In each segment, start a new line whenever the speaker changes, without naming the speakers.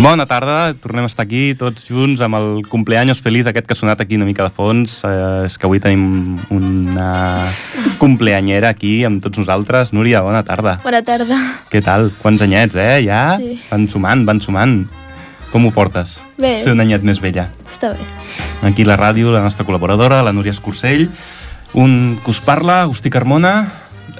Bona tarda, tornem a estar aquí tots junts amb el cumpleaños feliç aquest que ha sonat aquí una mica de fons. Eh, és que avui tenim una cumpleanyera aquí amb tots nosaltres. Núria, bona tarda.
Bona tarda.
Què tal? Quants anyets, eh? Ja
Sí.
van sumant, van sumant. Com ho portes?
Bé.
Ser un anyet més vella.
Està bé.
Aquí la ràdio, la nostra col·laboradora, la Núria Escursell, un que us parla, Agustí Carmona,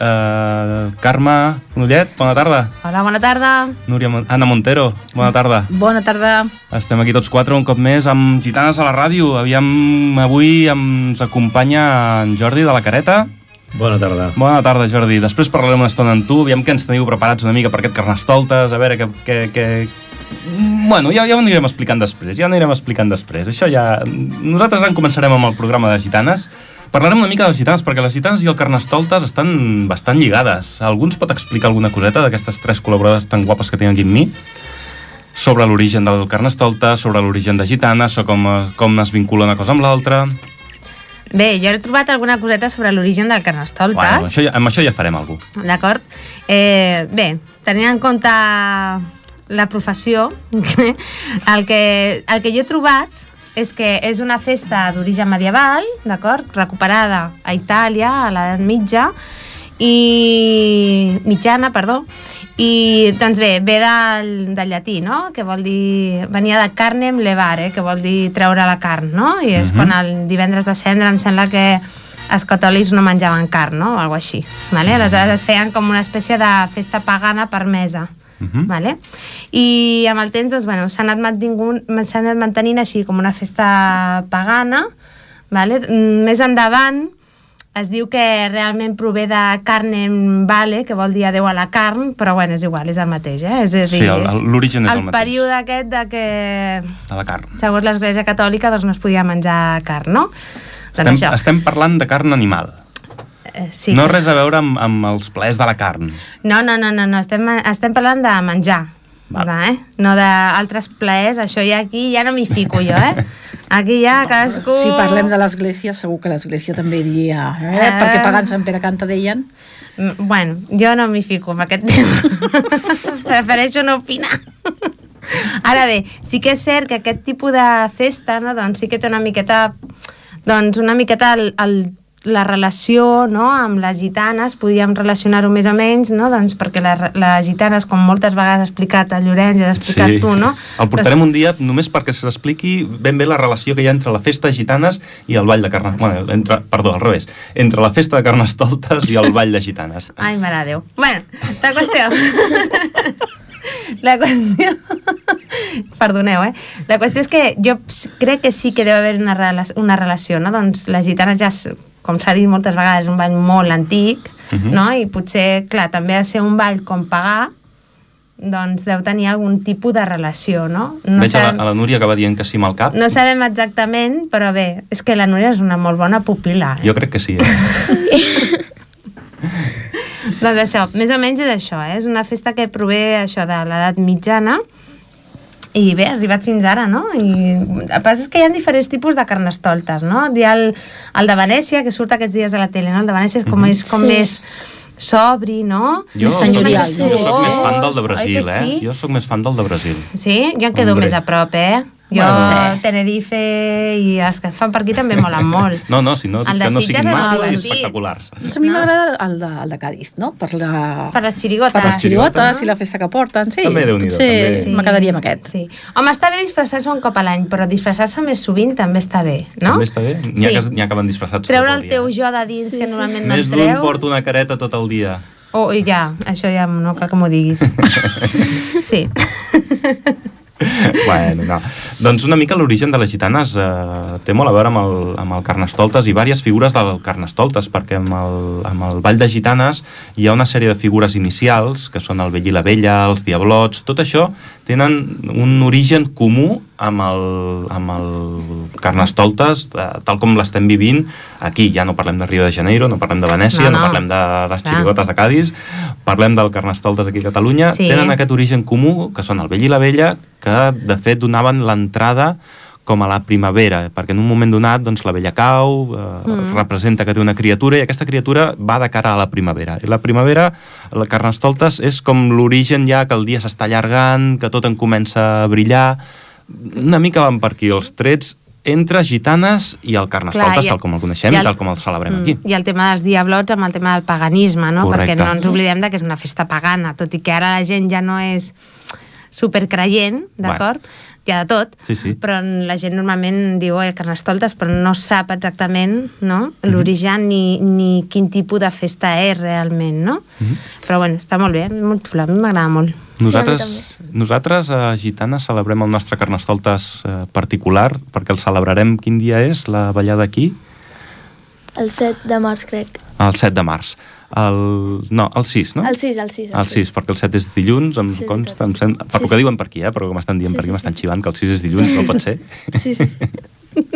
eh, Carme Fonollet, bona tarda.
Hola, bona tarda.
Núria, Mon- Anna Montero, bona tarda.
Bona tarda.
Estem aquí tots quatre un cop més amb Gitanes a la ràdio. Aviam, avui ens acompanya en Jordi de la Careta.
Bona tarda.
Bona tarda, Jordi. Després parlarem una estona amb tu, aviam què ens teniu preparats una mica per aquest carnestoltes, a veure què... què, què... Bueno, ja, ja ho anirem explicant després, ja ho anirem explicant després. Això ja... Nosaltres ara en començarem amb el programa de Gitanes. Parlarem una mica de les gitanes, perquè les gitanes i el carnestoltes estan bastant lligades. Algú ens pot explicar alguna coseta d'aquestes tres col·laboradores tan guapes que tinc aquí amb mi? Sobre l'origen del carnestolta, sobre l'origen de gitanes, o com, eh, com es vincula una cosa amb l'altra...
Bé, jo he trobat alguna coseta sobre l'origen del Carnestoltes.
Bueno, amb això, ja, amb això ja farem alguna cosa.
D'acord? Eh, bé, tenint en compte la professió, el que, el que jo he trobat és que és una festa d'origen medieval, d'acord? Recuperada a Itàlia, a l'edat mitja, i mitjana, perdó, i doncs bé, ve del, del llatí, no? Que vol dir... Venia de carnem levare, que vol dir treure la carn, no? I és quan el divendres de cendra em sembla que els catòlics no menjaven carn, no? O alguna així.
Mm.
Vale? Aleshores es feien com una espècie de festa pagana permesa. Uh
Mm.
-huh. vale? i amb el temps doncs, bueno, s'ha anat, mantingut- s'ha anat mantenint així com una festa pagana vale? Mm, més endavant es diu que realment prové de carnem vale, que vol dir adeu a la carn, però bueno, és igual, és el mateix, eh? És a dir,
Sí, el- el- l'origen és el mateix.
període aquest de que,
De la carn.
segons l'Església Catòlica, doncs no es podia menjar carn, no? Doncs
Estem, estem parlant de carn animal.
Eh, sí,
Sí. No res a veure amb, amb els plaers de la carn.
No, no, no, no, no. Estem, estem parlant de menjar.
Val.
Va. Eh? No d'altres plaers, això ja aquí ja no m'hi fico jo, eh? Aquí ja cadascú...
Si parlem de l'església, segur que l'església també diria, eh?
Eh.
Perquè pagant Sant Pere Canta deien.
Mm, Bueno, jo no m'hi fico amb aquest tema. Prefereixo no opinar. Ara bé, sí que és cert que aquest tipus de festa, no, doncs sí que té una miqueta, doncs una miqueta el, el, la relació no, amb les gitanes, podíem relacionar-ho més o menys, no? doncs perquè les, les gitanes, com moltes vegades has explicat a Llorenç i has explicat tu, no?
El portarem un dia només perquè se l'expliqui ben bé la relació que hi ha entre la festa de gitanes i el ball de carnes... Bueno, entre, perdó, al revés. Entre la festa de carnestoltes i el ball de gitanes.
Ai, mare de Déu. Bueno, la qüestió... la qüestió... Perdoneu, eh? La qüestió és que jo ps- crec que sí que deu haver una, rela una relació, no? Doncs les gitanes ja, s- com s'ha dit moltes vegades, és un ball molt antic,
Mhm.
no? I potser, clar, també ha de ser un ball com pagar, doncs deu tenir algun tipus de relació, no? no
Veig a la,
sabem-
a la Núria que va dient que sí amb el cap.
no sabem exactament, però bé, és que la Núria és una molt bona pupila. Eh?
Jo crec que sí. Eh?
Doncs això, més o menys és això, eh? és una festa que prové això de l'edat mitjana i bé, ha arribat fins ara, no? I el que passa és que hi ha diferents tipus de carnestoltes, no? Hi ha el, el de Venècia, que surt aquests dies a la tele, no? El de Venècia és com, és com
Sí.
més sobri, no?
Mhm. Jo,
Més senyorial,
jo
no?
sóc més fan del de
Oi que
Brasil, eh?
sí?
Jo sóc més fan del de Brasil.
Sí? Jo em quedo
Hombre.
més a prop, eh? Jo,
Bueno, sí.
Tenerife i els que fan per aquí també molen molt.
No, no, si no,
El de
que no
Sitges
siguin
és
macos i
divertit.
espectaculars.
Doncs a mi
No.
m'agrada el, de, el de Càdiz, no? Per la...
Per les xirigotes.
Per les xirigotes
No?
i la festa que porten, sí.
Ah, També, Déu-n'hi-do, també.
potser
Sí.
me quedaria amb aquest.
Sí. Home, està bé disfressar-se un cop a l'any, però disfressar-se més sovint també està bé, no?
També està bé? N'hi ha, que- n'hi ha que van disfressats tot
Treure el
el
teu
dia.
jo de dins, que normalment no
Més
et
d'un
treus.
porta una careta tot el dia.
Oh, i ja, això ja no cal que m'ho diguis. sí.
bueno, no. Doncs una mica l'origen de les gitanes eh, té molt a veure amb el, amb el Carnestoltes i diverses figures del Carnestoltes, perquè amb el, amb el Ball de Gitanes hi ha una sèrie de figures inicials, que són el vell i la vella, els diablots, tot això tenen un origen comú amb el, amb el Carnestoltes, de, tal com l'estem vivint aquí. Ja no parlem de Rio de Janeiro, no parlem de Venècia, no,
No,
no.
no.
no parlem de les
Clar.
xirigotes de Cádiz, parlem del Carnestoltes aquí a Catalunya,
Sí.
tenen aquest origen comú, que són el vell i la vella, que de fet donaven l'entrada com a la primavera, perquè en un moment donat doncs, la vella cau, eh, mm. representa que té una criatura, i aquesta criatura va de cara a la primavera. I la primavera, la Carnestoltes, és com l'origen ja que el dia s'està allargant, que tot en comença a brillar... Una mica van per aquí els trets entre gitanes i el Carnestoltes,
i-
Clar, tal com el coneixem
i
i,
el-
tal com el celebrem
Mm,
aquí.
I el tema dels diablots amb el tema del paganisme, no?
Correcte.
Perquè no ens oblidem de que és una festa pagana, tot i que ara la gent ja no és supercreient, d'acord? Hi ha de tot,
Sí, sí.
però en- la gent normalment diu oi, carnestoltes, però no sap exactament no?
Mhm.
l'origen ni, ni quin tipus de festa és realment, no?
Mhm.
Però bueno, està molt bé, molt xula, a mi m'agrada molt.
Nosaltres, sí, nosaltres a Gitana celebrem el nostre Carnestoltes eh, particular, perquè el celebrarem quin dia és, la ballada aquí?
El 7 de març, crec.
El 7 de març. El, no, el 6, no?
El 6, el 6.
El 6, perquè el 7 és dilluns, em
Sí,
sí,
és
consta, em
veritat.
sent, per
Sí,
sí, que
sí.
diuen per aquí, eh, però que m'estan dient
Sí,
per aquí,
sí,
m'estan
sí.
xivant que el 6 és dilluns, no pot ser.
Sí, sí.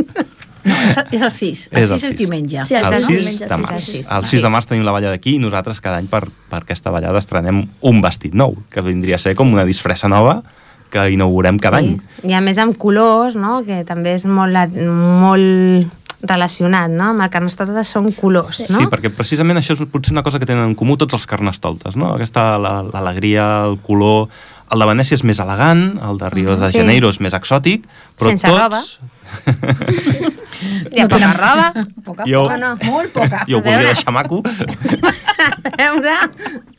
No, és, és el 6. El
És el
6 és
sis.
diumenge.
Sí, el
el
sis,
6
diumenge,
de
sí,
març.
sí, sí.
El 6 de març tenim la balla d'aquí i nosaltres cada any per, per aquesta ballada estrenem un vestit nou, que vindria a ser com una disfressa nova que inaugurem cada any.
I a més amb colors, no? que també és molt, la- molt relacionat, no? Amb el carnestoltes són colors,
Sí.
no?
Sí, perquè precisament això és potser una cosa que tenen en comú tots els carnestoltes, no? Aquesta, la- l'alegria, el color... El de Venècia és més elegant, el de Rio de
Sí.
Janeiro és més exòtic, però
Sense
tots...
roba. Hi ha poca roba.
Poca,
Jo-
poca, no. Molt poca.
Jo ho
A veure.
volia deixar maco,
A veure,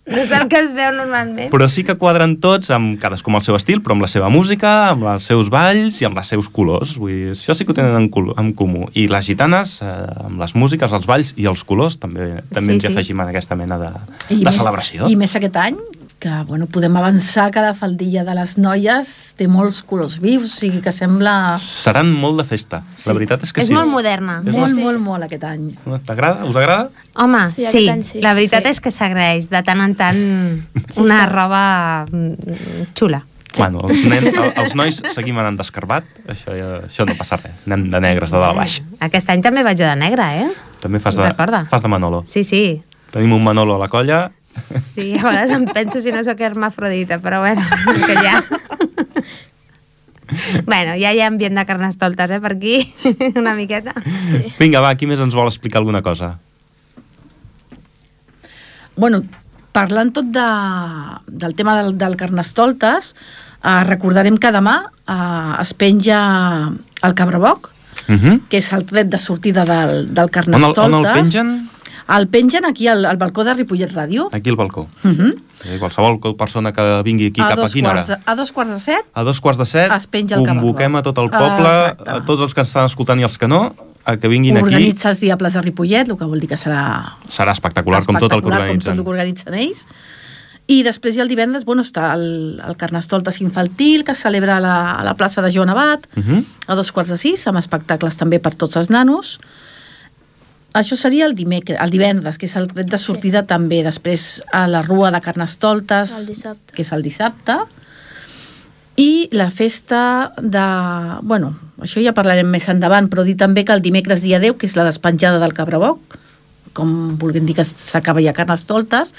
no és el que es veu normalment.
però sí que quadren tots amb cadascú amb el seu estil, però amb la seva música, amb els seus balls i amb els seus colors. Vull dir, això sí que ho tenen en, colo- en comú. I les gitanes, eh, amb les músiques, els balls i els colors, també, també sí,
Sí,
ens
sí.
hi afegim en aquesta mena de, de celebració.
I més aquest any, que bueno, podem avançar que la faldilla de les noies té molts colors vius, o sigui que sembla
Seran molt de festa. Sí.
Sí.
La veritat és que
és
sí.
molt moderna.
És
molt,
sí.
molt, molt aquest any.
Eh, T'agrada? Us agrada?
Home,
Sí,
sí,
aquest
sí.
any sí.
la veritat
Sí.
és que s'agraeix de tant en tant una roba mm, xula.
Sí. Bueno, els, nen, el- els nois seguim anant d'escarbat, això, ja, això no passa res. Anem de negres, de dalt a baix.
Aquest any també vaig jo de negre, eh?
També fas de,
Recorda.
fas de Manolo.
Sí, sí.
Tenim un Manolo a la colla.
Sí, a vegades em penso si no sóc hermafrodita, però bueno, que ja... Bueno, ja hi ha ambient de carnestoltes, eh, per aquí, una miqueta.
Sí. Vinga, va, qui més ens vol explicar alguna cosa?
bueno, parlant tot de, del tema del, del Carnestoltes, eh, recordarem que demà eh, es penja el cabraboc,
Uh -huh.
que és el tret de sortida del,
on,
del
el,
Carnestoltes.
on el pengen?
El pengen aquí al, al balcó de Ripollet Ràdio.
Aquí al balcó.
Uh -huh.
Eh, Qualsevol co- persona que vingui aquí cap a
dos
quina hora?
quarts, de- a dos quarts de set
A dos quarts de set
Es penja el
convoquem
cabarro.
a tot el
Ah,
poble,
exacte.
a tots els que ens estan escoltant i els que no, a que vinguin aquí.
organitza els diables de Ripollet, el que vol dir que serà
Serà espectacular, com tot el que
espectacular,
organitzen.
Com tot el que organitzen ells. I després ja el divendres, bueno, està el, el Carnestoltes infantil, que es celebra a la, a la plaça de Joan Abat,
Uh -huh.
a dos quarts de sis, amb espectacles també per tots els nanos. Això seria el, dimecres, el divendres, que és el tret de sortida sí. també. Després a la Rua de Carnestoltes,
El dissabte.
que és el dissabte. I la festa de... bueno, això ja parlarem més endavant, però dir també que el dimecres dia 10, que és la despenjada del Cabraboc, com vulguem dir que s'acaba ja Carnestoltes,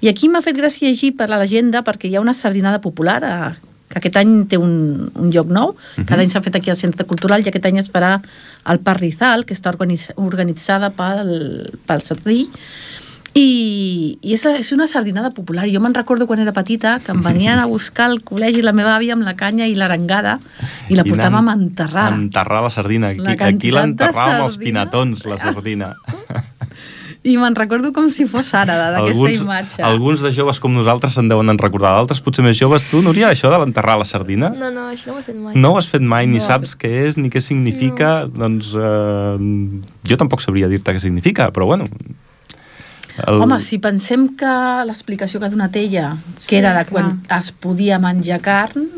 i aquí m'ha fet gràcia llegir per a l'agenda perquè hi ha una sardinada popular a, que aquest any té un, un lloc nou,
Mhm.
cada any s'ha fet aquí al Centre Cultural i aquest any es farà al Parc Rizal, que està organitz, organitzada pel, pel Sardí, i, i és, és una sardinada popular. Jo me'n recordo quan era petita que em venien a buscar al col·legi la meva àvia amb la canya i l'arengada i la portàvem a enterrar.
Enterrar la sardina. Aquí
La
la aquí
quantitat de
l'enterràvem als
sardina.
pinatons, la sardina.
I me'n recordo com si fos ara, de- d'aquesta imatge.
alguns de joves com nosaltres se'n deuen en recordar. D'altres potser més joves. Tu, Núria, això de l'enterrar la sardina?
No, no, això no ho he fet mai.
No ho has fet mai, ni
No.
saps què és, ni què significa. Doncs eh, jo tampoc sabria dir-te què significa, però bueno... El...
Home, si pensem que l'explicació que ha donat ella, que
Sí,
era de
clar.
quan es podia menjar carn,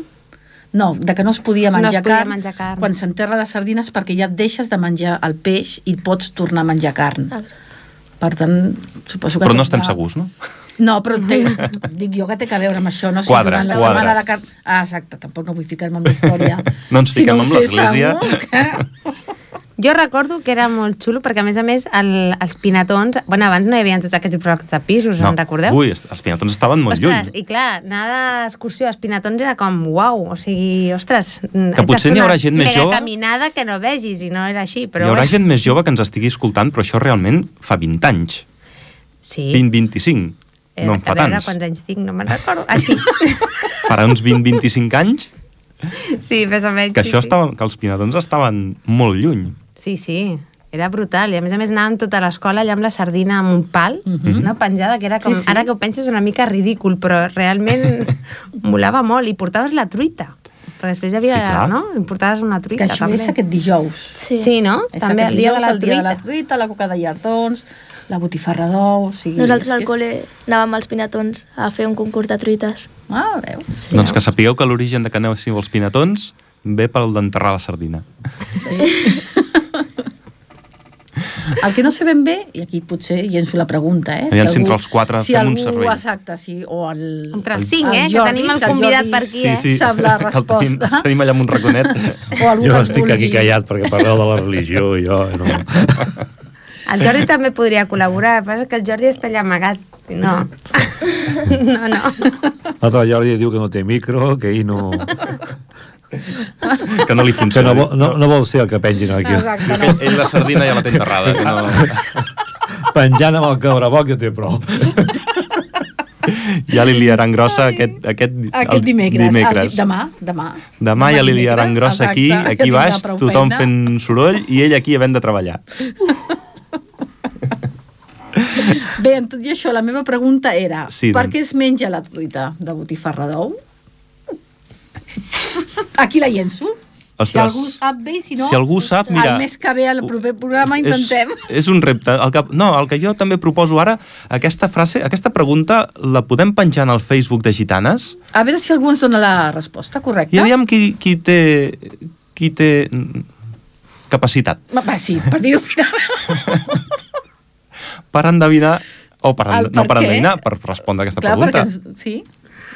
no, de que no es podia
No es
menjar,
podia
carn,
menjar carn.
quan s'enterra les sardines perquè ja et deixes de menjar el peix i pots tornar a menjar carn.
Exacte.
Per tant, suposo que...
Ah. Però
té
no estem
que-
segurs, no?
No, però té, dic jo que té que veure amb això, no sé,
Quadra,
durant la
quadra.
setmana de carn... Ah, exacte, tampoc no vull ficar-me en la història.
No ens
Si
fiquem
ho
amb
sé,
l'Església.
segur Que...
Jo recordo que era molt xulo, perquè a més a més el, els pinatons... Bueno, abans no hi havia tots aquests blocs de pisos, no. en recordeu?
Ui, est- els pinatons estaven molt
ostres,
lluny.
i clar, anar d'excursió als pinatons era com, uau, o sigui, ostres... Que
potser n'hi haurà gent més jove.
caminada que no vegis, i no era així, però...
Hi haurà
bueno,
gent més jove que ens estigui escoltant, però això realment fa 20 anys.
Sí.
20-25.
Eh,
No en fa
a veure
tants.
quants anys tinc, no me'n recordo. Ah, sí.
Farà uns 20-25 anys
sí, més o menys.
que,
sí,
això
sí.
estava, que els pinatons estaven molt lluny.
Sí, sí. Era brutal. I a més a més anàvem tota l'escola allà amb la sardina amb un pal,
Mhm.
no? penjada, que era com...
Sí, sí.
Ara que ho penses una mica ridícul, però realment molava molt. I portaves la truita. Però després hi havia...
Sí, clar.
no? I portaves una
Que
truita,
això
també.
és aquest dijous.
Sí.
Sí, no?
És
Ah, també
aquest
el dia de la
el dia de la
truita.
truita, la coca de llardons, la botifarra d'ou... O sigui,
Nosaltres
és que
al
és-
col·le anàvem als pinatons a fer un concurs de truites.
Ah, veus?
Sí, doncs que sapigueu que l'origen de que aneu així amb els pinatons ve pel d'enterrar la sardina.
El que no sé ben bé, i aquí potser llenço la pregunta, eh?
Aviam si entre els quatre
si
fem un
algú,
servei.
Exacte, sí, o el...
Entre
El-
els cinc,
el
eh? que
Jordi,
tenim el
Sant
convidat
Jordi.
per aquí, eh?
sí. Sap la
El tenim,
resposta.
el tenim allà amb un raconet.
O algú
Jo
que ens
estic aquí
vulgui-
callat perquè parleu de la religió i jo... No.
El Jordi també podria col·laborar, el que passa és que el Jordi està allà amagat. No.
Mhm.
no, no.
L'altre Jordi diu que no té micro, que ell no...
Que no li
Que
funciona.
no, vol, no, no vol ser el que pengin aquí.
Exacte,
Ell, ell la sardina ja la té enterrada. Que no... Doncs
Penjant amb el cabraboc ja té prou.
Ja li liaran grossa aquest, aquest,
Aquest
el
dimecres. el di-
dimecres.
demà, demà.
Demà ja li liaran
dimecres,
grossa aquí,
exacte,
aquí
ja
baix,
tindrà prou
tothom
feina.
fent soroll i ell aquí havent de treballar.
Bé, en tot i això, la meva pregunta era,
Sí,
per
doncs.
què es menja la truita de botifarra d'ou? Aquí la llenço.
Ostres.
Si algú sap bé, i si no...
si algú sap, mira...
El mes que ve, al proper programa,
és-
intentem.
És, és un repte. El que, no, el que jo també proposo ara, aquesta frase, aquesta pregunta, la podem penjar en el Facebook de Gitanes?
A veure si algú ens dona la resposta correcta.
I aviam qui, qui té... qui té mm, capacitat
Va, va, sí, per dir-ho finalment.
per endevinar o per,
El
en- no
per
per
què?
endevinar, per respondre aquesta
Clar,
pregunta.
perquè ens, sí.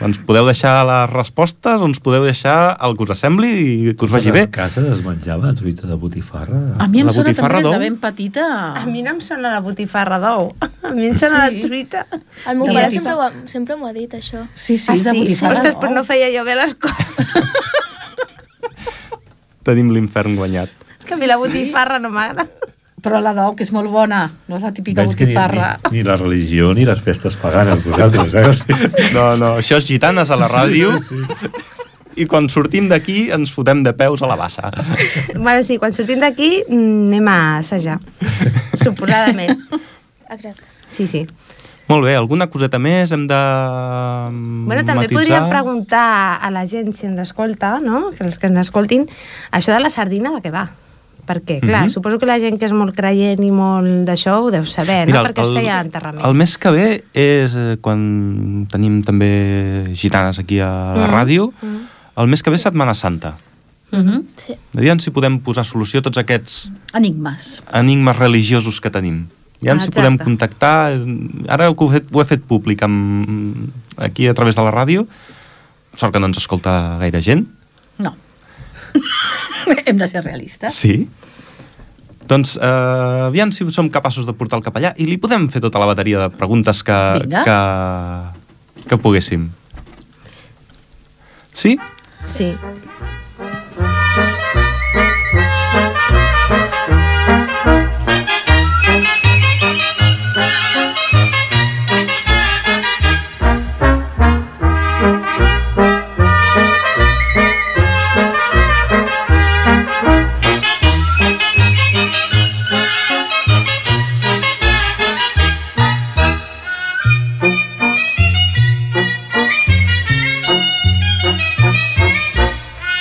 Ens podeu deixar les respostes o ens podeu deixar el que us assembli i que us vagi bé.
A les cases es menjava truita de botifarra.
A mi em
La
sona
botifarra
també des de
d'ou?
ben petita.
A mi no em sona la botifarra d'ou. A mi em sona sí. la truita.
El meu
I
pare
és-
sempre, ho ha, sempre m'ho ha dit, això.
Sí, sí, de botifarra
Ah, Ostres,
d'ou.
però no feia jo bé les coses.
Tenim l'infern guanyat.
És que a mi la botifarra no m'agrada.
Però la d'ou, que és molt bona, no és la típica
Veig que ni,
botifarra.
ni, ni la religió ni les festes paganes, vosaltres, eh? veus?
No, no, això és gitanes a la ràdio sí, sí, i quan sortim d'aquí ens fotem de peus a la bassa.
Bueno, sí, quan sortim d'aquí mm, anem a assajar. Suposadament.
Exacte.
Sí, sí.
Molt bé, alguna coseta més hem de Mm,
Bueno, també
matitzar?
podríem preguntar a la gent si ens escolta, no? que els que ens escoltin, això de la sardina de què va? Perquè, clar,
Mhm.
suposo que la gent que és molt creient i molt d'això ho deu saber, no? Perquè es feia enterrament.
El mes que ve és eh, quan tenim també gitanes aquí a la
Mm.
ràdio.
Mm.
El mes que ve és Setmana Santa.
Mhm.
Sí.
Aviam si podem posar solució a tots aquests
Enigmes.
enigmes religiosos que tenim. Aviam si
Exacte.
podem contactar... Ara que ho he fet, ho he fet públic amb, aquí a través de la ràdio. Sort que no ens escolta gaire gent.
No. Hem de ser realistes.
Sí. Doncs eh, aviam si som capaços de portar el cap allà i li podem fer tota la bateria de preguntes que,
Vinga.
que, que poguéssim. Sí?
Sí.
Thank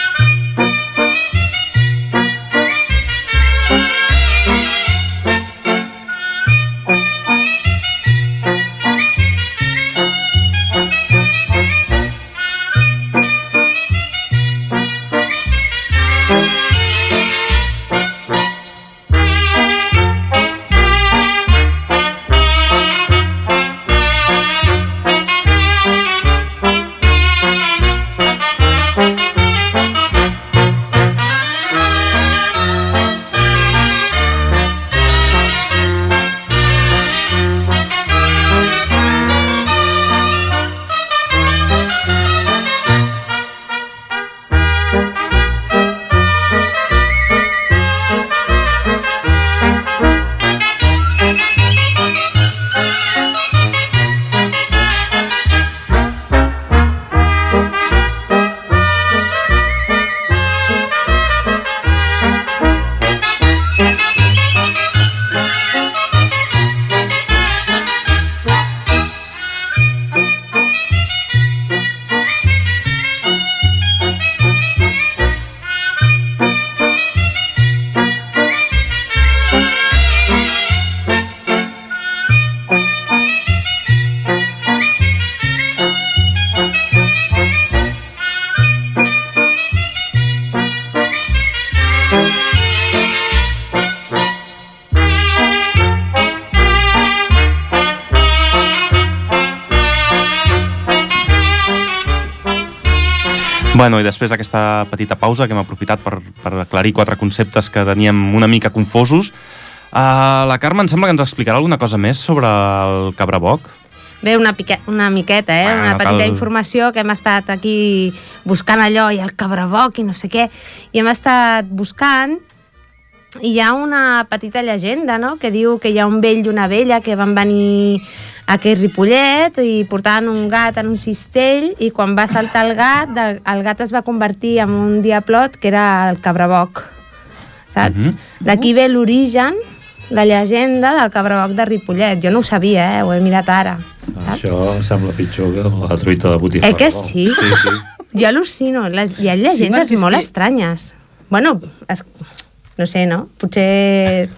Bueno, i després d'aquesta petita pausa que hem aprofitat per, per aclarir quatre conceptes que teníem una mica confosos, uh, la Carme em sembla que ens explicarà alguna cosa més sobre el cabraboc.
Bé, una, pique, una miqueta, eh?
Ah,
una
no
petita
cal.
informació que hem estat aquí buscant allò i el cabraboc i no sé què, i hem estat buscant i hi ha una petita llegenda no? que diu que hi ha un vell i una vella que van venir a aquell Ripollet i portaven un gat en un cistell i quan va saltar el gat, de- el gat es va convertir en un diablot que era el cabraboc, saps? D'aquí ve l'origen, la llegenda del cabraboc de Ripollet. Jo no ho sabia, eh? ho he mirat ara, saps?
Ah, Això em sembla pitjor que la truita de botifarra.
Eh que sí?
Sí, sí.
Jo al·lucino, les, hi ha llegendes
perquè és
molt
que-
estranyes. Bueno, es, no sé, no? Potser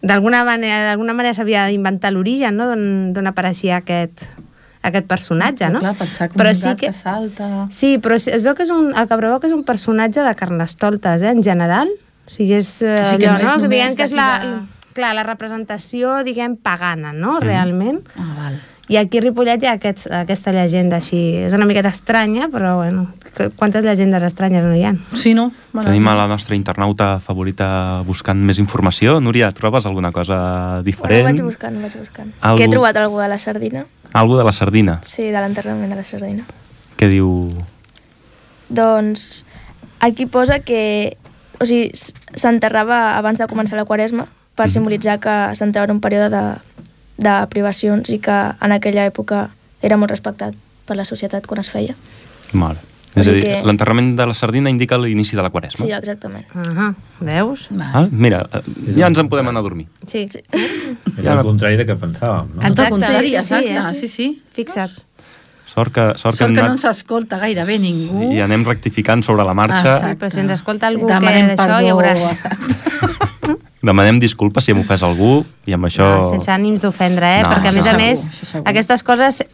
d'alguna manera, d'alguna manera s'havia d'inventar l'origen, no?, d'on d'on apareixia aquest, aquest personatge, no?
Clar, pensar com
Però
un
sí
gat
que-
que salta...
Sí, però sí- es veu que és un, el Cabraboc és un personatge de Carnestoltes, eh, en general. O sigui, és eh,
O sigui que
allò,
no és
no?
només
Diguem que és la,
d'aquí de-
clar, la representació, diguem, pagana,
Mm.
no?, realment.
Ah, val.
I aquí a Ripollet hi ha aquest, aquesta llegenda així. És una miqueta estranya, però bueno, qu- quantes llegendes estranyes no hi ha?
Sí, no?
Tenim a la nostra internauta favorita buscant més informació. Núria, trobes alguna cosa
Bueno,
diferent?
vaig buscant, vaig buscant.
Algú-
Que he trobat algú de la sardina.
Algo de la sardina.
Sí, de l'enterrament de la sardina.
Què diu...
Doncs aquí posa que... O sigui, s- s'enterrava abans de començar la quaresma
Mhm.
per simbolitzar que s'entrava en un període de, de privacions i que en aquella època era molt respectat per la societat quan es feia.
Mare.
O
És a dir,
sigui que-
l'enterrament de la sardina indica l'inici de la quaresma.
Ah.
Sí, exactament.
Ahà, veus?
Ah, mira, eh, ja ens en podem anar a dormir.
Sí.
És el contrari de que pensàvem, no?
Tot
Exacte,
el contrari,
sí,
ja saps?
sí, eh,
ah,
sí.
sí, sí.
Fixa't.
Sort que, sort
Sort que
hem
no ens
anat-
escolta gairebé ningú.
i anem rectificant sobre la marxa.
Ah,
Ah, Sí, però si ens escolta algú sí. que
Demanem
d'això
perdó.
ja veuràs.
Demanem disculpes si hem ofès algú i amb això...
No, Ah, sense ànims d'ofendre, eh?
No,
No, Perquè, a
això
més a
segur,
més,
això segur.
aquestes coses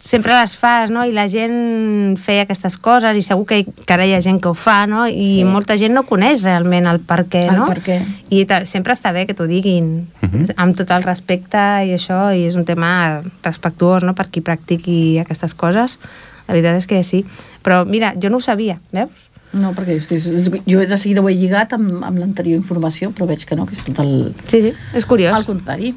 sempre les fas, no? I la gent feia aquestes coses i segur que, que ara hi ha gent que ho fa, no? I
Sí.
sí. molta gent no coneix realment el per què,
El
no?
per què.
I ta- sempre està bé que t'ho diguin,
Mhm.
amb tot el respecte i això, i és un tema respectuós, no?, per qui practiqui aquestes coses. La veritat és que sí. Però, mira, jo no ho sabia, veus?
No, perquè és, que és, és- jo de seguida ho he lligat amb, amb l'anterior informació, però veig que no, que és tot el,
Sí, sí, és curiós.
el contrari.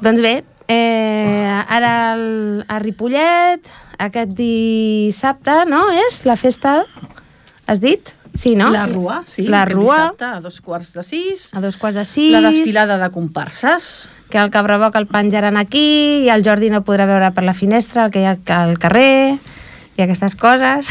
Doncs bé, eh, ara el, a Ripollet, aquest dissabte, no? És la festa, has dit? Sí, no?
La Rua, sí.
La
aquest
Rua,
Dissabte, a dos quarts de sis.
a dos quarts de sis.
La desfilada de comparses.
Que el Cabraboc el penjaran aquí i el Jordi no podrà veure per la finestra el que hi ha al carrer i aquestes coses.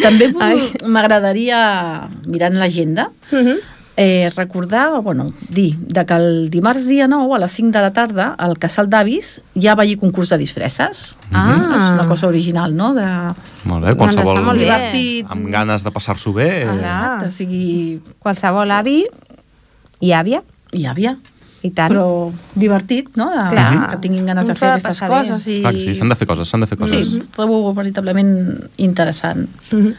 També vull-
Ai.
m'agradaria, mirant l'agenda,
Mhm.
eh, recordar, o, bueno, dir, de que el dimarts dia 9 a les 5 de la tarda al Casal d'Avis ja va haver concurs de disfresses.
Ah.
Mhm. És una cosa original, no? De...
Molt bé,
Doncs
qualsevol...
està molt bé.
Divertit.
Amb ganes de passar-s'ho bé.
Clar.
Exacte, o sigui,
Qualsevol avi i àvia,
hi havia.
i tant.
Però divertit, no? De,
Clar.
que tinguin ganes de
Un
fer
s'ha de
aquestes
passar
coses. I...
Ah,
Clar que sí, s'han de fer coses, s'han de fer coses.
Sí, trobo veritablement interessant.
Mhm.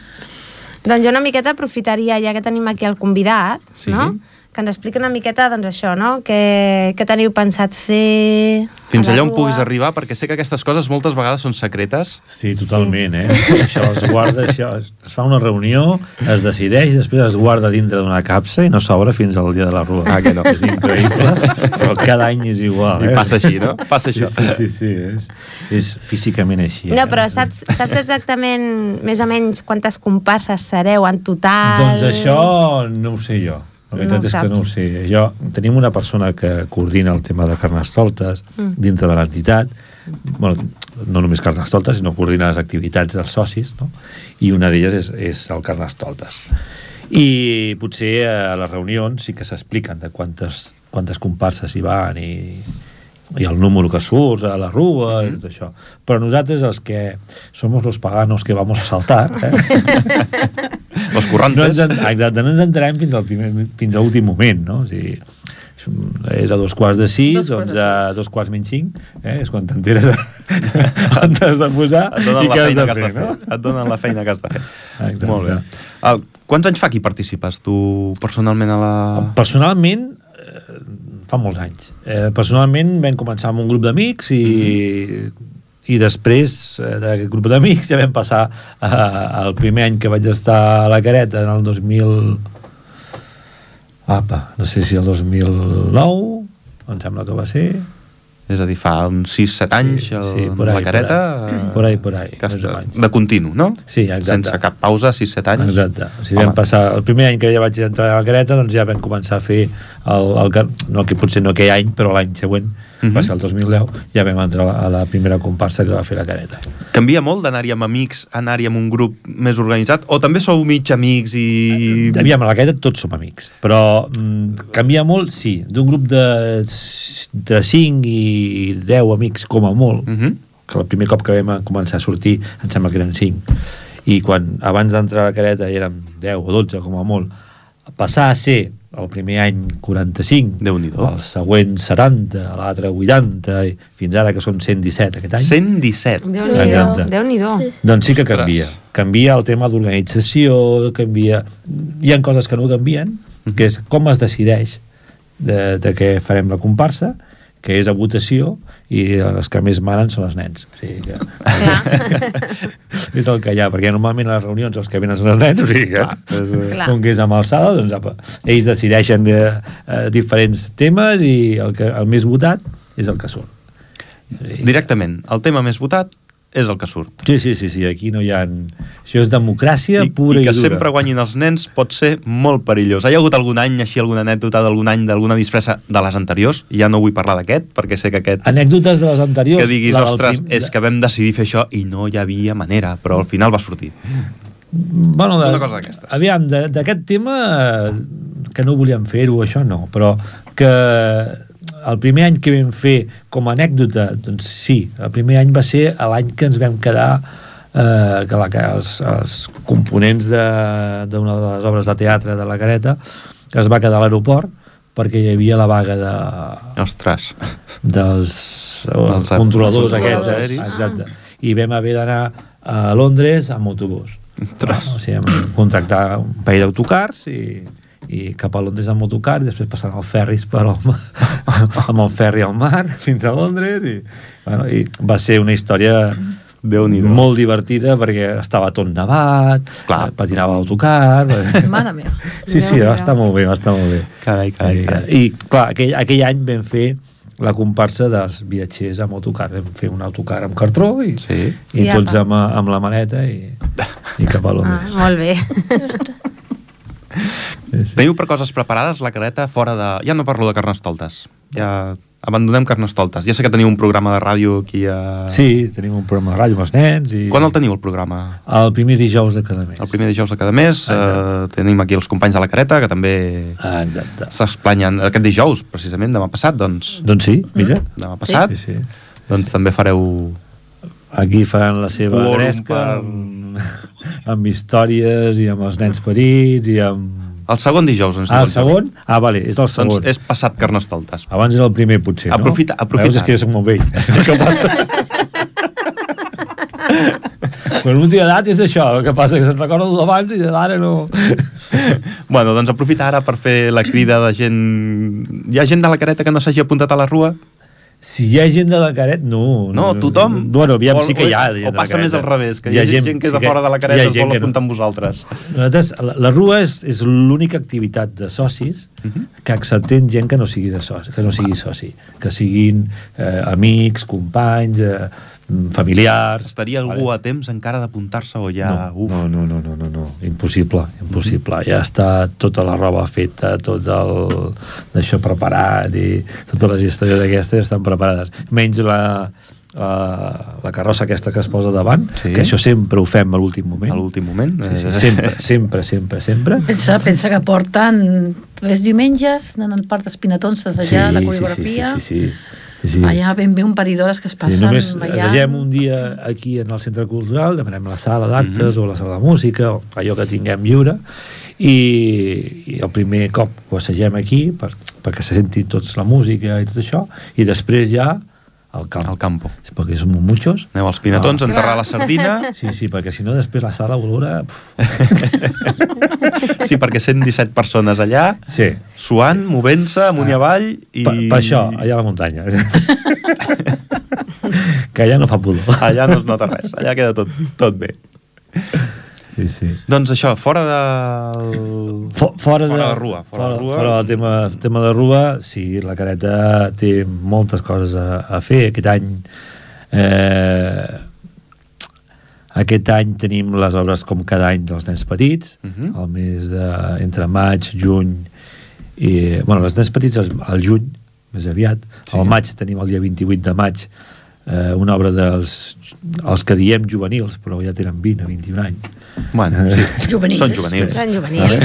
Doncs jo una miqueta aprofitaria, ja que tenim aquí el convidat,
Sí.
no? que ens expliqui una miqueta doncs, això, no? Què, què teniu pensat fer...
Fins
a la
allà on
rua?
puguis arribar, perquè sé que aquestes coses moltes vegades són secretes.
Sí, totalment, eh? Això es guarda, això, es, es fa una reunió, es decideix, i després es guarda dintre d'una capsa i no s'obre fins al dia de la rua.
Ah, que no.
És increïble, però cada any és igual,
I
eh?
passa així, no? Passa
Sí,
això.
sí, sí, sí és, és físicament així.
No,
eh?
però saps, saps exactament més o menys quantes comparses sereu en total?
Doncs això no ho sé jo. La
No
veritat
ho
és
saps.
que no ho sé. Jo, tenim una persona que coordina el tema de Carnestoltes mm. dintre de l'entitat, bueno, no només Carnestoltes, sinó coordina les activitats dels socis, no? i una d'elles és, és el Carnestoltes. I potser a les reunions sí que s'expliquen de quantes, quantes comparses hi van i, i el número que surts a la rua
Mm-hmm.
i tot això. Però nosaltres els que somos los paganos que vamos a saltar, eh?
Los
no ens,
currantes.
en- ah, exacte, no ens enterem fins al, primer, fins a últim moment, no? O sigui, és un- és a dos quarts de sis,
Dos quarts
doncs
de
a
sis.
dos quarts menys cinc, eh? és quan t'enteres de... on t'has de posar
Et donen
i
la
què has
feina
de
que has de
fer,
fer.
no?
Et donen la feina que has de fer.
Exacte.
Molt bé. El, quants anys fa que hi participes, tu, personalment, a la...
Personalment,
Mm-hmm.
eh, fa molts anys. Eh, personalment vam començar amb un grup d'amics i i després eh, d'aquest grup d'amics ja vam passar eh, el primer any que vaig estar a la Careta en el 2000 apa, no sé si el 2009 em sembla que va ser
És a dir, fa uns 6-7 anys
Sí,
el,
sí, por
la
ahí,
careta...
por ahí.
eh,
Por ahí, por ahí,
que has
més o
de,
menys.
de continu, no?
Sí, exacte.
Sense cap pausa, 6-7 anys.
Exacte. O sigui, vam
Home,
passar, el primer any que ja vaig entrar a la Greta, doncs ja vam començar a fer el, el car- no, que potser no aquell any, però l'any següent,
Mhm.
va ser el 2010, ja vam entrar a la, a la primera comparsa que va fer la Greta.
Canvia molt d'anar-hi amb amics, anar-hi amb un grup més organitzat, o també sou mig amics i...
Aviam, a la Greta tots som amics, però mm, canvia molt, sí, d'un grup de, de 5 i 10 amics com a molt,
Mhm.
que el primer cop que vam començar a sortir em sembla que eren 5 i quan abans d'entrar a la careta ja érem 10 o 12 com a molt passar a ser el primer any 45
Déu-n'hi-do.
el següent 70, l'altre 80 i fins ara que som 117 aquest any
117.
Déu-n'hi-do.
Exacte.
Déu-n'hi-do.
Sí, sí.
doncs sí que canvia. Canvia el tema d'organització, canvia... Hi han coses que no canvien, que és com es decideix de, de què farem la comparsa, que és a votació, i els que més manen són els nens. O sigui que... és el que hi ha, perquè normalment a les reunions els que venen són els nens, o sigui que, és, eh,
Clar.
com que és amb alçada, doncs apa, ells decideixen eh, eh, diferents temes i el, que, el més votat és el que surt.
Directament, el tema més votat és el que surt.
Sí, sí, sí, sí, aquí no hi ha... Això és democràcia
I,
pura
i
i,
que
dura.
sempre guanyin els nens pot ser molt perillós. Hi ha hagut algun any així, alguna anècdota d'algun any, d'alguna disfressa de les anteriors? Ja no vull parlar d'aquest, perquè sé que aquest...
Anècdotes de les anteriors.
Que diguis,
la del
ostres,
prim-
és que vam decidir fer això i no hi havia manera, però al final va sortir.
Bueno, de,
una cosa d'aquestes.
Aviam, de- d'aquest tema, eh, que no volíem fer-ho, això no, però que el primer any que vam fer com a anècdota, doncs sí, el primer any va ser l'any que ens vam quedar eh, que, la, que els, els components de- d'una de, de les obres de teatre de la Careta es va quedar a l'aeroport perquè hi havia la vaga de,
Ostres.
dels,
Dels
dels
a-
controladors
dels
aquests,
aeris.
aeris. exacte. I vam haver d'anar a Londres amb autobús.
Ostres.
O sigui, vam contractar un parell d'autocars i, i cap a Londres amb autocar i després passant el ferris per al mar, amb el ferri al mar fins a Londres i, bueno, i va ser una història
Déu-n'hi-do.
molt divertida perquè estava tot nevat,
Clar.
eh, patinava l'autocar...
Mare meva.
Sí, sí,
Déu-n'hi-do.
va estar molt bé, va estar molt bé.
Carai, carai, carai.
Eh, I, clar, aquell, aquell any vam fer la comparsa dels viatgers amb autocar. Vam fer un autocar amb cartró i,
Sí.
i
I apa.
tots amb, amb la maleta i, i cap a
Ah,
Londres.
molt bé.
Sí, sí.
Teniu per coses preparades la careta fora de... Ja no parlo de carnestoltes. Ja abandonem carnestoltes. Ja sé que teniu un programa de ràdio aquí a...
sí, tenim un programa de ràdio amb els nens. I...
Quan el teniu, el programa?
El primer dijous de cada mes.
El primer dijous de cada mes. Eh,
Exacte.
tenim aquí els companys de la careta, que també
Ah, exacte.
s'explanyen aquest dijous, precisament, demà passat, doncs.
Doncs sí, mira.
Demà passat,
Sí, sí.
doncs també fareu...
Aquí faran la seva
Quòrum
gresca
per-
amb, amb històries i amb els nens petits i amb...
El segon dijous, ens
Ah, el
diuen.
segon? Ah, vale, és el segon.
Doncs és passat carnestoltes.
Abans era el primer, potser,
Aprofita-
no?
aprofita.
Veus, és que jo soc molt vell. El que passa... Quan un té edat és això, el que passa que se'n recorda del d'abans i de d'ara no...
Bueno, doncs aprofita ara per fer la crida de gent... Hi ha gent de la careta que no s'hagi apuntat a la rua?
Si hi ha gent de la caret, no.
No, tothom.
Mm, Bueno, aviam,
O-
sí que hi ha. eh.
o-
gent de
O
la
passa
careta.
més al revés, que hi ha, gent, que és de
sí
fora de la
hi
careta
ha
i es
gent
vol
que no.
apuntar amb vosaltres.
Nosaltres, la, la rua és, és l'única activitat de socis
Mhm.
que acceptem gent que no sigui de soci, que no sigui soci, que siguin eh, amics, companys, eh, mm, familiars...
Estaria algú a temps encara d'apuntar-se o ja...
no,
uf.
no, no, no, no, no, no, impossible, impossible. Ja està tota la roba feta, tot el d'això preparat i tota totes les històries aquestes ja estan preparades. Menys la, la, la carrossa aquesta que es posa davant,
Sí.
sí. que això sempre ho fem a l'últim
A
moment.
l'últim moment.
Sí, sí,
eh,
sempre, sempre, sempre, sempre.
Pensa, pensa que porten tres diumenges anant al parc d'Espinatons allà, sí, la coreografia.
Sí, sí, sí, sí, sí, sí.
Allà ben bé un parell d'hores que es
Sí,
passen
només
ballant.
assagem un dia aquí en el centre cultural, demanem la sala d'actes
Mhm.
o la sala de música, o allò que tinguem lliure, i, i el primer cop ho assagem aquí per, perquè se senti tots la música i tot això, i després ja al camp.
Al campo.
Sí, perquè som muchos.
Aneu als pinatons, enterrar la sardina...
Sí, sí, perquè si no després la sala olora... Puf.
Sí, perquè 117 persones allà,
Sí, Ah.
suant, movent-se, amunt i avall... I...
I... Per, per això, allà a la muntanya. que allà no fa pudor.
Allà no es nota res, allà queda tot, tot bé.
Sí, sí.
Doncs això, fora del...
Fo- fora,
Fora
de,
de rua, fora de rua.
Fora del tema, tema de rua, sí, la careta té moltes coses a, a fer. Aquest any... Eh, aquest any tenim les obres com cada any dels nens petits, uh
Mhm.
-huh. el mes de, entre maig, juny i... Bueno, les nens petits al, al juny, més aviat.
Sí.
Sí. Al maig tenim el dia 28 de maig eh, una obra dels els que diem juvenils, però ja tenen 20 21 anys.
Bueno, sí.
Juvenils.
Són juvenils.
Tan juvenil.
Vale?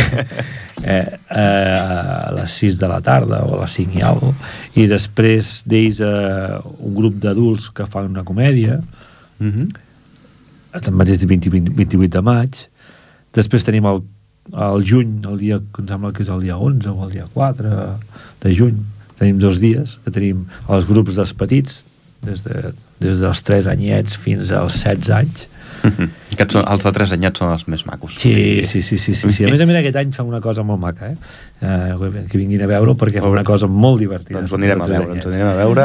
Eh, eh, a les 6 de la tarda o a les 5 i alguna cosa. I després d'ells eh, un grup d'adults que fan una comèdia,
Mm -hmm.
tanmateix de 20, 20, 28 de maig. Després tenim el, el juny, el dia, que em sembla que és el dia 11 o el dia 4 de juny. Tenim dos dies, que tenim els grups dels petits, des, de, des dels 3 anyets fins als 16 anys.
Aquests són, els de 3 anyets són els més macos.
Sí, sí, sí, sí, sí, sí. A més a més, aquest any fa una cosa molt maca, eh? eh que vinguin a veure perquè fa una cosa molt divertida.
Doncs ho anirem a veure, ens ho anirem a veure.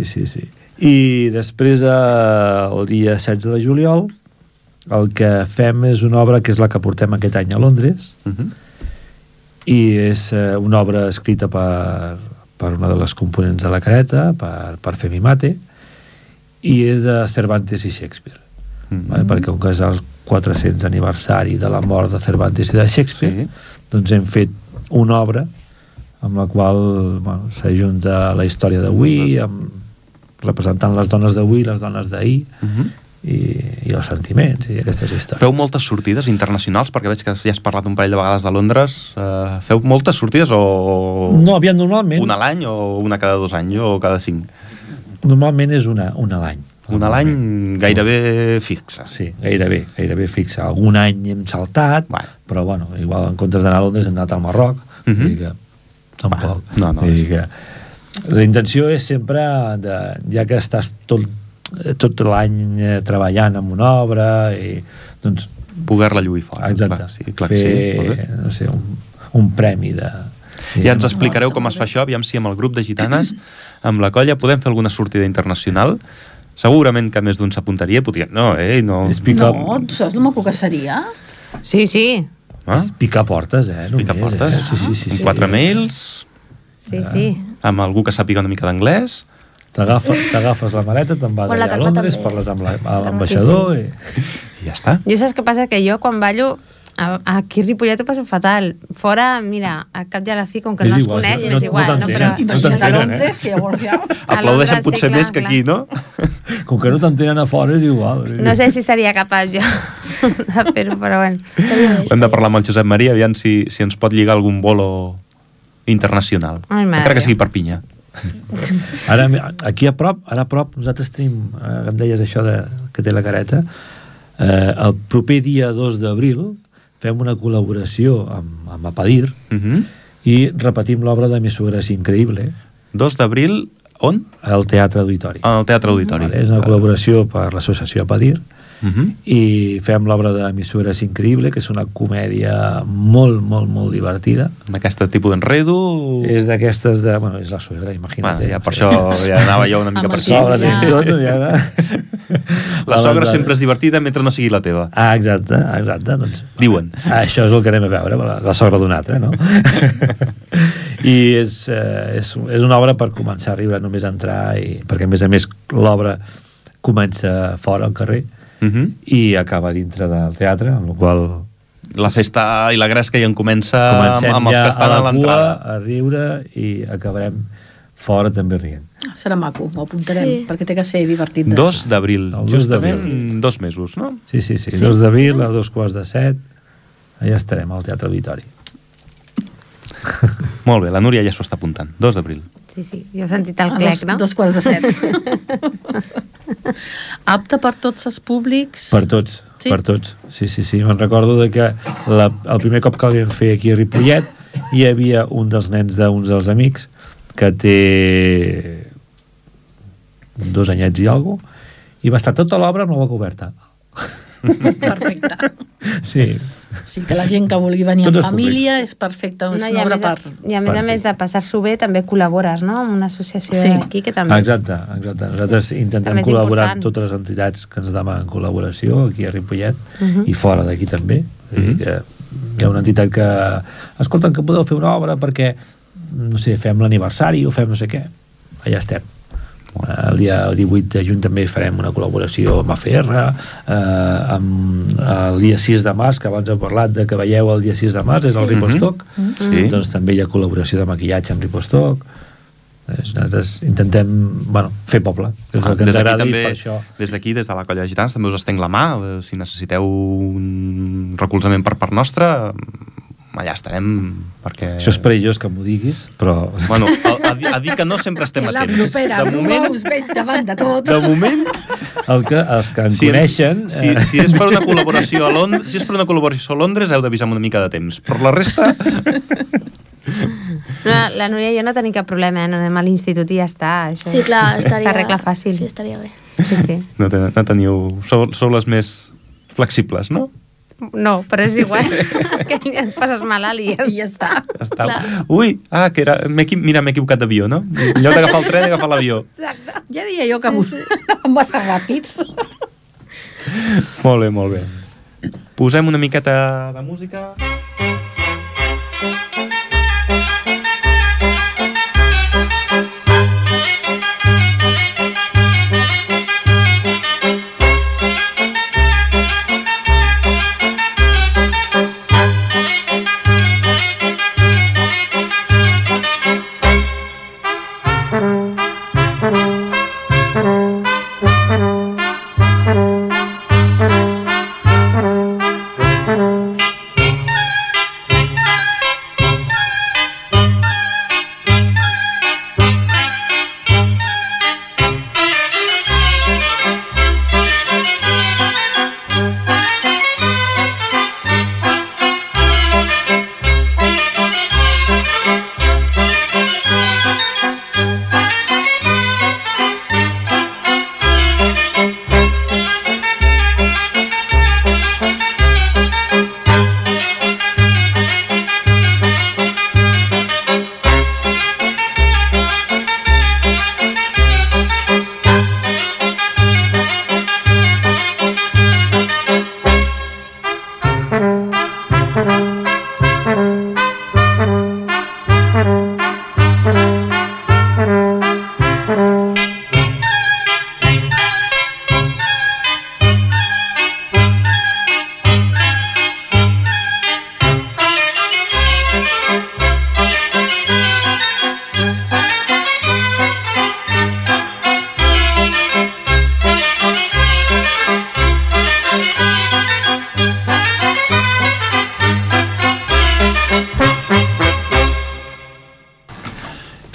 eh.
Sí, sí, sí. I després, eh, el dia 16 de juliol, el que fem és una obra que és la que portem aquest any a Londres
Mm -hmm.
i és eh, una obra escrita per, per una de les components de la careta, per, per Femi Mate, i és de Cervantes i Shakespeare. Mm. Vale? Perquè com que és el 400 aniversari de la mort de Cervantes i de Shakespeare,
Sí.
sí. doncs hem fet una obra amb la qual bueno, s'ajunta la història d'avui, amb representant les dones d'avui, les dones d'ahir,
Mm -hmm.
i, i els sentiments, i aquestes històries.
Feu moltes sortides internacionals, perquè veig que ja has parlat un parell de vegades de Londres. Uh, feu moltes sortides o...
No, aviam, normalment,
Una a l'any o una cada dos anys o cada cinc?
normalment és una, una a l'any.
Una a l'any gairebé fixa.
Sí, gairebé, gairebé fixa. Algun any hem saltat,
Bueno.
però bueno, igual en comptes d'anar a Londres hem anat al Marroc, mm
Mhm.
-hmm. que tampoc.
no, no,
Vull dir
és-
que la intenció és sempre, de, ja que estàs tot, tot l'any eh, treballant en una obra, i, doncs,
Poder-la lluir fora.
Ah, exacte,
Clar, sí, clar, que
fer,
sí. molt bé.
no sé, un, un premi de... eh,
Ja ens explicareu com es fa això, aviam si amb el grup de gitanes, amb la colla, podem fer alguna sortida internacional. Segurament que més d'un s'apuntaria, podria... No, eh? No.
És picar,
No, tu saps el maco que seria?
Sí, sí.
Ah?
és picar portes, eh?
Pica
només,
portes.
Eh? Sí, sí, sí.
Amb
sí.
quatre mails,
Ah.
Sí, sí.
amb algú que sàpiga una mica d'anglès.
T'agafes t'agafes la maleta, te'n vas
O la
allà a
Carme
Londres,
també.
parles amb la- amb l'ambaixador...
Sí,
Sí, sí. I...
I ja està.
Jo saps què passa? Que jo quan ballo a- aquí a Ripollet ho passo fatal. Fora, mira, a cap i a la fi, com que
És
no es
igual,
coneix,
no-
m'és
no
igual. No,
t'entenen.
però...
No
Imagina't a
t'entenen,
Londres, que llavors ja...
A
Aplaudeixen
Londres, sí,
potser
clar,
més que aquí, no?
Com que no t'entenen a fora, és igual.
No sé si seria capaç jo de fer-ho, però bueno.
Estaria bé,
Ho hem de
estaria
parlar amb el Josep Maria, aviam si, si ens pot lligar algun bolo internacional.
Ai, mare
Encara que
meva.
sigui per pinya.
Ara, aquí a prop, ara a prop, nosaltres tenim, eh, em deies això de, que té la careta, eh, el proper dia 2 d'abril fem una col·laboració amb, amb Apadir
Uh
i repetim l'obra de Mi suegra és increïble
2 d'abril, on?
al Teatre Auditori.
Al Teatre Auditori.
Vale, és una col·laboració per l'associació Apadir
Uh -huh.
i fem l'obra de Mi suegra és increïble, que és una comèdia molt, molt, molt divertida.
D'aquest tipus d'enredo...
És d'aquestes de... Bueno, és la suegra, imagina't.
Bueno,
eh?
ja per això ja anava jo una mica
Amb
per
el
Sí, sogra,
això.
sogre.
ja.
ja.
tot, ja.
La sogra sempre és divertida mentre no sigui la teva.
Ah, exacte, exacte, doncs...
Diuen.
Això és el que anem a veure, la, la sogra d'un altre, no? I és, eh, és, és una obra per començar a riure, només a entrar, i, perquè a més a més l'obra comença fora al carrer
Uh -huh.
i acaba dintre del teatre, amb la qual cosa
La festa i la gresca ja en comença
comencem
amb, amb els
ja
que
a
estan a
la cua
l'entrada.
a riure i acabarem fora també rient.
Serà maco, ho apuntarem,
Sí.
perquè té que ser divertit.
2 d'abril,
El dos
justament dos mesos, no?
Sí, sí, sí.
Sí.
2 d'abril a dos quarts de set, allà estarem al Teatre Auditori.
Molt bé, la Núria ja s'ho està apuntant. 2 d'abril.
Sí, sí, jo he sentit el
A
clec,
Ah,
no?
dos, dos quarts de set. Apte per tots els públics.
Per tots,
Sí?
sí? per tots. Sí, sí, sí. Me'n recordo de que la, el primer cop que el vam fer aquí a Ripollet hi havia un dels nens d'uns dels amics que té dos anyets i alguna cosa, i va estar tota l'obra amb la boca oberta.
Perfecte.
Sí,
O sigui que la gent que vulgui venir
Tot
en
és
família és perfecta, és
No,
una obra
més, a,
part.
I a més a més de passar-s'ho bé, també col·labores, no?, amb una associació
Sí.
sí. aquí que també
Ah,
és-
Exacte, exacte. Nosaltres intentem
També és
col·laborar amb
important.
totes les entitats que ens demanen col·laboració aquí a Ripollet
Mhm.
i fora d'aquí també. És a
Mhm.
dir, que hi ha una entitat que... Escolta, que podeu fer una obra perquè, no sé, fem l'aniversari o fem no sé què. Allà estem. Eh, El dia 18 de juny també farem una col·laboració amb AFR, eh, amb el dia 6 de març, que abans heu parlat de que veieu el dia 6 de març, és el
Sí.
Ripostoc,
Mhm.
Sí.
doncs també hi ha col·laboració de maquillatge amb Ripostoc és, nosaltres intentem bueno, fer poble que és
Ah,
el que
des
ens
d'aquí
agrada també...
també,
per això
Des d'aquí, des de la colla de gitans, també us estenc la mà. eh, Si necessiteu un recolzament per part nostra, mm, allà estarem, perquè...
això és perillós que m'ho diguis però
Bueno, a, a, dir- a dir que no sempre estem
La
atents.
propera,
de moment,
us veig davant de tot.
de moment
el que, els que en
si,
coneixen
si,
eh,
si, és per una col·laboració a Londres, si és per una col·laboració a Londres, heu d'avisar amb una mica de temps. Però la resta...
No, la Núria i jo no tenim cap problema, eh? no anem a l'institut i ja està. Això
Sí, clar, estaria...
S'arregla fàcil.
Sí, estaria bé.
sí, sí.
No, ten, no teniu... Sou, sou les més flexibles, no?
No, però és igual. que et poses malalt i ja
I ja està.
Ja Està.
Clar.
Ui, ah, que era... m'he equi- Mira, m'he equivocat d'avió, no? En lloc d'agafar el tren, he agafat l'avió.
Exacte. Ja diria jo que sí, sí. massa ràpids.
Molt bé, molt bé. Posem una miqueta de música.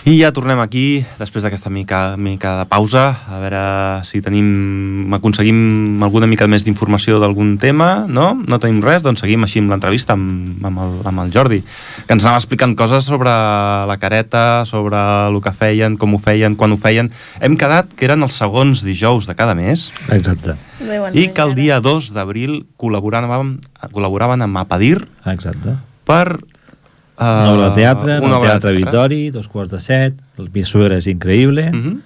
I ja tornem aquí, després d'aquesta mica, mica de pausa, a veure si tenim, aconseguim alguna mica més d'informació d'algun tema, no? No tenim res, doncs seguim així amb l'entrevista amb, amb, el, amb el Jordi, que ens anava explicant coses sobre la careta, sobre el que feien, com ho feien, quan ho feien. Hem quedat que eren els segons dijous de cada mes
exacte,
Bé, bueno,
i que el
ara-
dia 2 d'abril col·laboraven, amb- col·laboraven amb Apadir
exacte
per... Uh,
una obra de teatre, en el Teatre Vitori dos quarts de set, el Mi suegra és increïble mm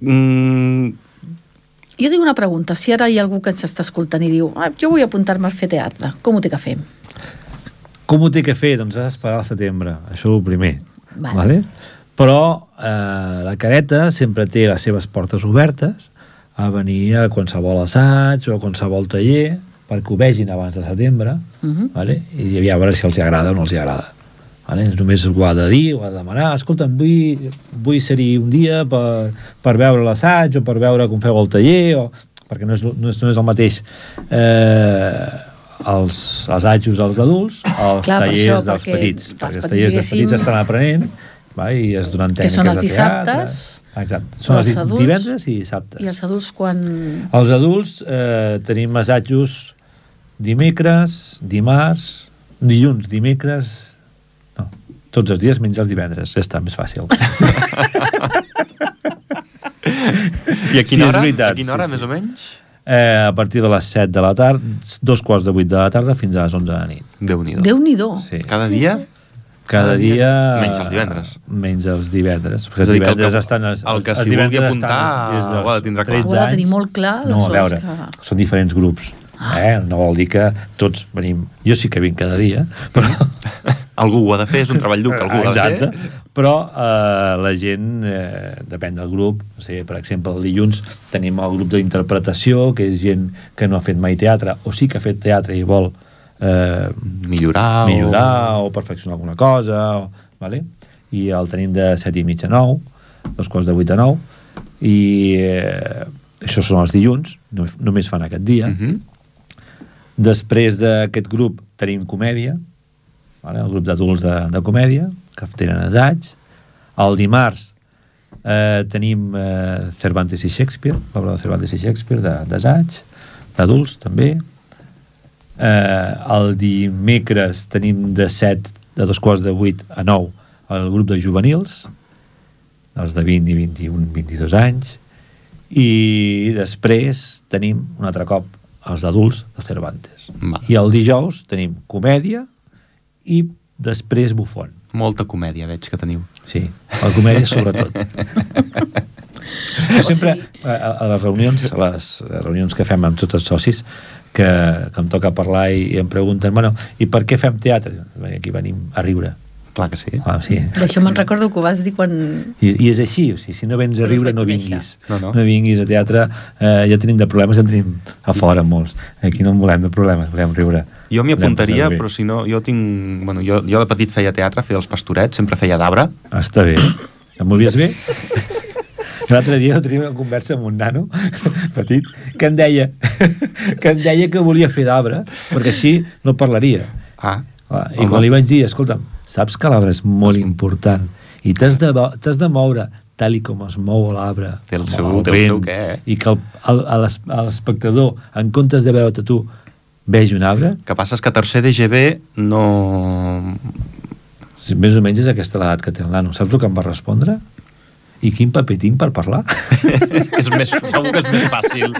Mhm. Mm,
Jo tinc una pregunta. Si ara hi ha algú que ens està escoltant i diu ah, jo vull apuntar-me a fer teatre, com ho té que fer?
Com ho té que fer? Doncs has d'esperar al setembre, això és el primer.
Vale.
Vale. Vale? Però eh, la careta sempre té les seves portes obertes a venir a qualsevol assaig o a qualsevol taller perquè ho vegin abans de setembre
Mhm.
vale? i ja a veure si els hi agrada o no els hi agrada. Vale? Només ho ha de dir, ho ha de demanar, escolta'm, vull, vull ser-hi un dia per, per veure l'assaig o per veure com feu el taller, o... perquè no és, no és, no és el mateix eh, els assajos als adults, els
Clar, per
tallers
això,
dels
perquè
petits, perquè els
els petits,
tallers dels
diguéssim,
petits estan aprenent va, i es donen
que
tècniques
són els
de teatre.
dissabtes,
Exacte. Són els,
els adults,
adults, divendres i dissabtes.
I els adults quan...
Els adults eh, tenim assajos dimecres, dimarts, dilluns, dimecres... No, tots els dies menys els divendres. Ja està, més fàcil.
I a quina
Sí, és
hora?
veritat,
a quina hora,
sí, sí.
més o menys?
eh, a partir de les 7 de la tarda, dos quarts de 8 de la tarda fins a les 11 de la nit.
Déu-n'hi-do.
Déu-n'hi-do.
Sí.
Cada
Sí,
dia...
sí.
Cada dia...
Menys els divendres.
Menys els divendres. Perquè
És
els
a dir, que el
divendres
que-
estan... Els,
el que
els
s'hi vulgui
divendres estan
apuntar,
des dels
ho ha de tindre clar.
13
Ho ha de tenir
anys.
molt clar,
No, a
aleshores,
veure,
que- Ah.
són diferents grups. Eh? No vol dir que tots venim... Jo sí que vinc cada dia, però...
Algú ho ha de fer, és un treball dur que algú ho ha de
Exacte.
fer.
Però eh, la gent, eh, depèn del grup, o sigui, per exemple, el dilluns tenim el grup d'interpretació, que és gent que no ha fet mai teatre, o sí que ha fet teatre i vol eh,
Millorar,
millorar o perfeccionar alguna cosa, o, vale? i el tenim de 7 i mitja a 9, dos quarts de 8 a 9, i eh, això són els dilluns, no, només fan aquest
O...
dia, uh -huh.
Mhm.
Després d'aquest grup tenim comèdia, vale? el grup d'adults de, de comèdia, que tenen assaig. El dimarts eh, tenim eh, Cervantes i Shakespeare, l'obra de Cervantes i Shakespeare, de- d'assaig, d'adults també. Eh, el dimecres tenim de 7, de dos quarts de 8 a 9, el grup de juvenils, els de 20 i 21, 22 anys, i després tenim un altre cop els adults de Cervantes.
Va.
I el dijous tenim comèdia i després bufon.
Molta comèdia veig que teniu.
Sí, el comèdia sobretot. Jo sempre, a, a- a les reunions, a les reunions que fem amb tots els socis, que, que em toca parlar i, i em pregunten, bueno, i per què fem teatre? Bé, Aquí venim a riure.
Clar que sí.
Ah, sí.
D'això me'n recordo que ho vas dir quan...
I, I és així, o sigui, si no vens a
Però
riure
és
no
reconèixer.
vinguis.
No, no.
no vinguis a teatre, eh, ja tenim de problemes, ja en tenim a fora molts. Aquí no en volem de problemes, volem riure.
Jo m'hi
Volem
apuntaria,
passar-ho bé.
però si no, jo tinc... Bueno, jo, jo de petit feia teatre, feia els pastorets, sempre feia d'arbre.
Està bé. Em movies bé? L'altre dia tenia una conversa amb un nano petit que em deia que em deia que volia fer d'arbre perquè així no parlaria.
Ah,
Clar, I
Home.
quan li vaig dir, escolta'm, saps que l'arbre és molt important i t'has de, vo- t'has de moure tal i com es mou l'arbre,
Té el
com
seu- té el seu què, eh?"
i que el- el- a l'es- a l'espectador, en comptes de veure-te tu, vegi un arbre,
que passa és que tercer DGB no...
Sí, Més o menys és aquesta l'edat que té el nano. Saps el que em va respondre? I quin paper tinc per parlar?
és més, segur que és més fàcil.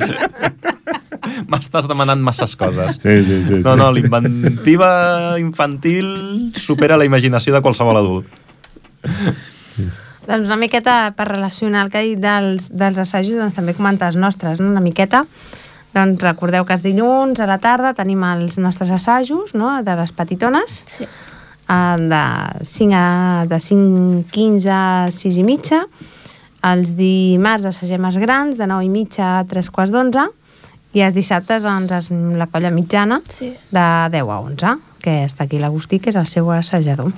M'estàs demanant masses coses.
sí, sí.
No, no, l'inventiva infantil supera la imaginació de qualsevol adult.
Doncs una miqueta per relacionar el que ha dit dels, dels assajos, doncs també comentar els nostres, no? una miqueta. Doncs recordeu que és dilluns a la tarda tenim els nostres assajos no? de les petitones,
Sí.
eh, de 5, a, de 5, 15 a 6 i mitja. Els dimarts assagem els grans, de 9 i mitja a 3 quarts d'11. I els dissabtes, doncs, és la colla mitjana,
Sí.
de 10 a 11, que està aquí l'Agustí, que és el seu assajador.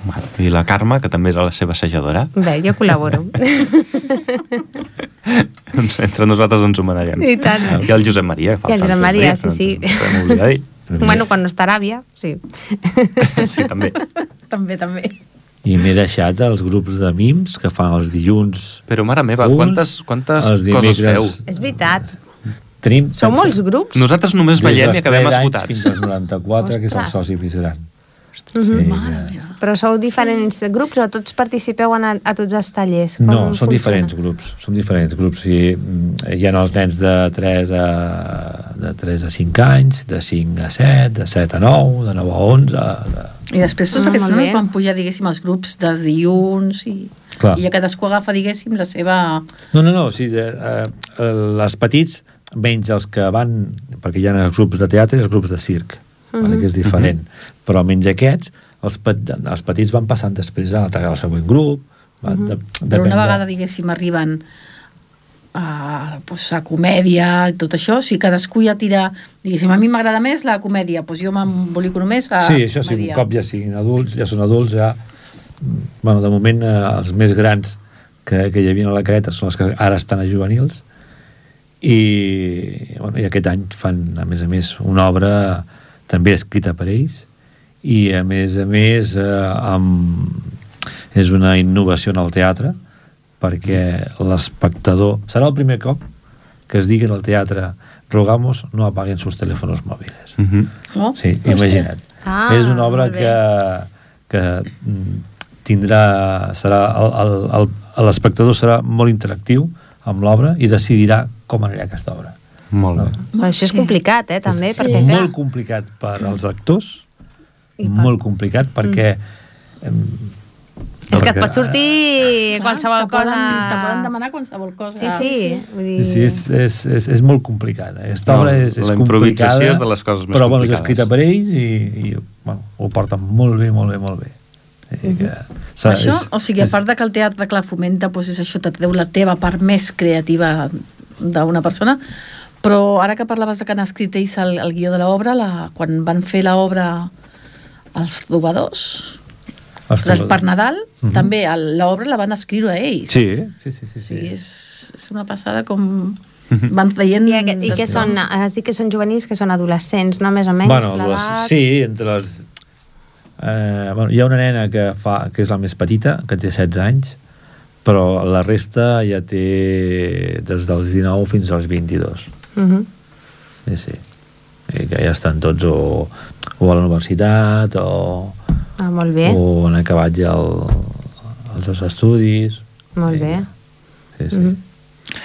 I la Carme, que també és la seva assajadora,
Bé, jo col·laboro.
doncs entre nosaltres ens homenegem.
I tant.
I el Josep Maria. que fa
I el Josep
Francesc
Maria,
Díaz,
sí, sí.
No ens podem oblidar d'ell.
Bueno, quan no està ràbia, sí.
Sí, també.
També, també.
I m'he deixat els grups de mims que fan els dilluns.
Però, mare meva,
uns,
quantes, quantes
els dimecres.
coses feu?
És veritat.
Tenim,
Són molts grups.
Nosaltres només
Des
veiem
dels
i acabem
3 anys
esgotats.
Fins als 94, que és el
Ostres.
soci més gran. Eh,
Mhm.
Mare
Però sou diferents grups o tots participeu en a, a tots els tallers? Com
No, són
funciona?
diferents grups, són diferents grups. I, mm, hi ha els nens de 3 a, de 3 a 5 anys, de 5 a 7, de 7 a 9, de 9 a 11... De...
I després tots
Ah,
aquests
molt
nanos
bé.
van pujar, diguéssim, als grups dels dilluns i,
Clar.
i ja cadascú agafa, diguéssim, la seva...
No, no, no, o sigui, eh, eh, les petits, menys els que van, perquè hi ha els grups de teatre i els grups de circ, mm -hmm. que és diferent, però menys aquests, els, pet, els petits van passant després a l'altre, al següent grup, va, de,
Però
depèn
una
de-
vegada, diguéssim, arriben a, pues, a comèdia i tot això, si cadascú ja tira... Diguéssim, a mi m'agrada més la comèdia, doncs jo m'embolico només a
Sí, això sí, un
comèdia.
cop ja siguin adults, ja són adults, ja... mm, Bueno, de moment, eh, els més grans que, que hi havia a la careta són els que ara estan a juvenils, i, bueno, i aquest any fan, a més a més, una obra també escrita per ells, i a més a més eh, amb... és una innovació en el teatre, perquè l'espectador... Serà el primer cop que es digui en el teatre rogamos no apaguen sus teléfonos mòbils.
Uh -huh.
No?
Sí,
Hòstia.
imagina't.
Ah,
és una obra
molt bé.
que, que mm, tindrà, serà, el- el- el- l'espectador serà molt interactiu amb l'obra i decidirà com anirà aquesta obra.
Molt bé.
Bueno, això és complicat, eh, també,
és
perquè, clar...
molt complicat per als actors,
I per- Mm.
molt complicat perquè... em,
És que et
perquè-
pot sortir qualsevol
te
cosa...
Poden, te poden demanar qualsevol cosa.
Sí, sí, vull dir...
Sí, sí, és, és, és, és molt complicada. Aquesta
No,
obra és, és
la improvisació
complicada,
és de les coses més
però bueno, és
complicades.
escrita per ells i, i bueno, ho porten molt bé, molt bé, molt bé. I que, s'ha-
Això,
és-
o sigui, a part de que el teatre clar fomenta, doncs és això, et deu la teva part més creativa d'una persona, però ara que parlaves de que han escrit ells el, el guió de l'obra, la- quan van fer l'obra els trobadors,
els
les-
trobadors.
per Nadal,
Mhm.
també el- l'obra la van escriure ells.
Sí, sí, sí. sí,
O sigui,
sí.
és, és una passada com
Mhm.
van traient...
I, aquest, i que són, has dit que són juvenils, que són adolescents, no? Més o menys,
bueno, les,
l'edat...
sí, entre les... Eh, bueno, hi ha una nena que, fa, que és la més petita, que té 16 anys, però la resta ja té des dels 19 fins als 22.
Mhm.
Sí, sí. I que ja estan tots o, o a la universitat o,
Ah, molt bé,
o han acabat ja el, els seus estudis.
molt
sí.
bé.
Sí, sí.
Mhm.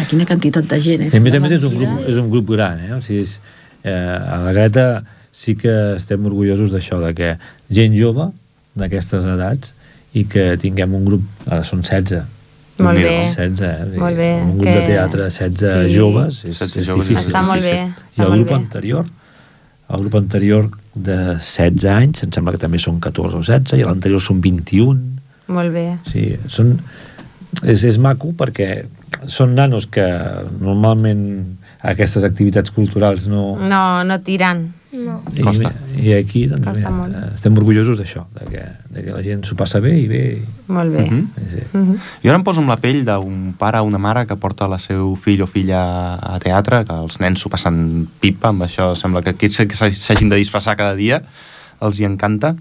A quina quantitat de gent, eh? és
I a més a
una
més és un
mentida.
grup, és un grup gran, eh? O sigui, és, eh, a la Greta sí que estem orgullosos d'això, de que gent jove d'aquestes edats i que tinguem un grup, ara són 16,
Molt bé.
16, eh? O sigui,
Molt bé,
Un grup
que-
de teatre, 16
sí.
joves, és,
16
és
joves,
difícil.
Està
és
molt bé,
difícil.
està
I el
molt
grup
bé.
anterior, el grup anterior de 16 anys, em sembla que també són 14 o 16, i l'anterior són 21,
Molt bé.
Sí, són, és, és maco perquè són nanos que normalment aquestes activitats culturals no...
No, no tirant.
No.
I,
Costa.
I aquí doncs,
Costa molt.
mira, estem orgullosos d'això, de, que, de que la gent s'ho passa bé i bé.
Molt bé.
Mhm.
I, sí.
Mhm.
Jo ara em poso en la pell d'un pare o una mare que porta la seu fill o filla a teatre, que els nens s'ho passen pipa amb això, sembla que aquests que s'ha- s'hagin de disfressar cada dia, els hi encanta,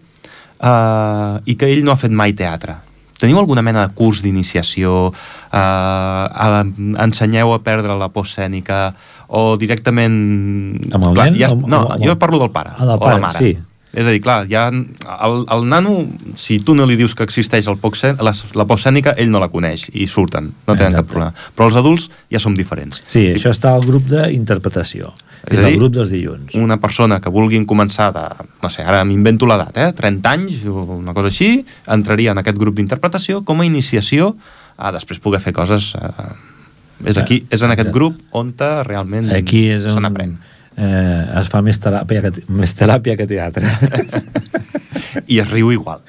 uh, i que ell no ha fet mai teatre. Teniu alguna mena de curs d'iniciació? Uh, a, ensenyeu a perdre la por escènica? O directament...
Amb el nen?
Ja, es-
Amb-
no,
amb- amb-
jo parlo del pare,
Ah, del
o la
pare,
mare.
sí.
És a dir, clar, ja el, el nano, si tu no li dius que existeix el poc, la, la por escènica, ell no la coneix i surten, no tenen cap
Exacte.
problema. Però els adults ja som diferents.
sí, això està al grup d'interpretació,
És
és
a
el
dir,
grup dels dilluns.
Una persona que vulguin començar de, no sé, ara m'invento l'edat, eh, 30 anys o una cosa així, entraria en aquest grup d'interpretació com a iniciació a després poder fer coses... Eh, és aquí, és en aquest
Exacte.
grup on te realment
Aquí és
se
on
n'aprèn.
eh, es fa més teràpia que, te- més teràpia que teatre.
I es riu igual.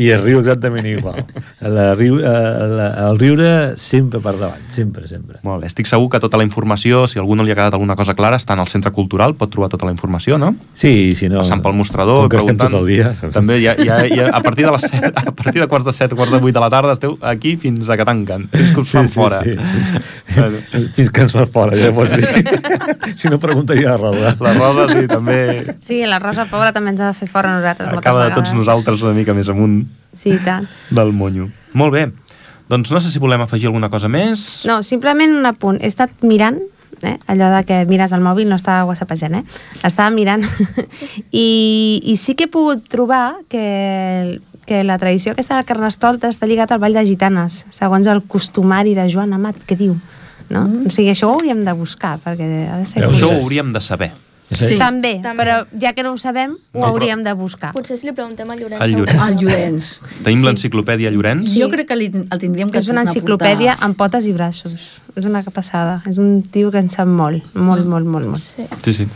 I es riu exactament igual. La riu, eh, la, el riure sempre per davant, sempre, sempre.
Molt bé, estic segur que tota la informació, si a algú no li ha quedat alguna cosa clara, està en el centre cultural, pot trobar tota la informació, no?
Sí, i si no...
Passant pel mostrador,
com que estem
preguntant...
tot el dia. doncs.
També ja, ja, ja, a, partir de les set, a partir de quarts de set, quarts de vuit de la tarda, esteu aquí fins a que tanquen, fins que us fan fora. Bueno,
Fins que ens fan fora, ja pots dir. si no, preguntaria a Raúl.
la roda, sí, també
Sí, la Rosa Pobra també ens ha de fer fora a nosaltres. moltes
acaba de tots
vegades.
nosaltres una mica més amunt
Sí, i tant.
del monyo. Molt bé, doncs no sé si volem afegir alguna cosa més.
No, simplement un apunt. He estat mirant, eh? allò de que mires el mòbil, no estava whatsappejant, eh? Estava mirant. I, I sí que he pogut trobar que, que la tradició aquesta del Carnestoltes està lligat al Ball de Gitanes, segons el costumari de Joan Amat, que diu. No? O sigui, això ho hauríem de buscar, perquè ha de ser...
Veus?
Això
curiós.
ho hauríem de saber.
Sí.
També,
També.
però ja que no ho sabem, ho
No, però-
hauríem de buscar.
Potser si li preguntem a Llorenç.
Al
segur que
Llorenç.
sap.
El Llorenç.
Tenim l'enciclopèdia Llorenç.
Jo crec que li, el tindríem que
És una
tornar a
enciclopèdia
portar.
amb potes i braços. És una passada. És un tio que en sap molt,
Mm.
molt, molt, molt, molt.
Sí.
Sí, sí.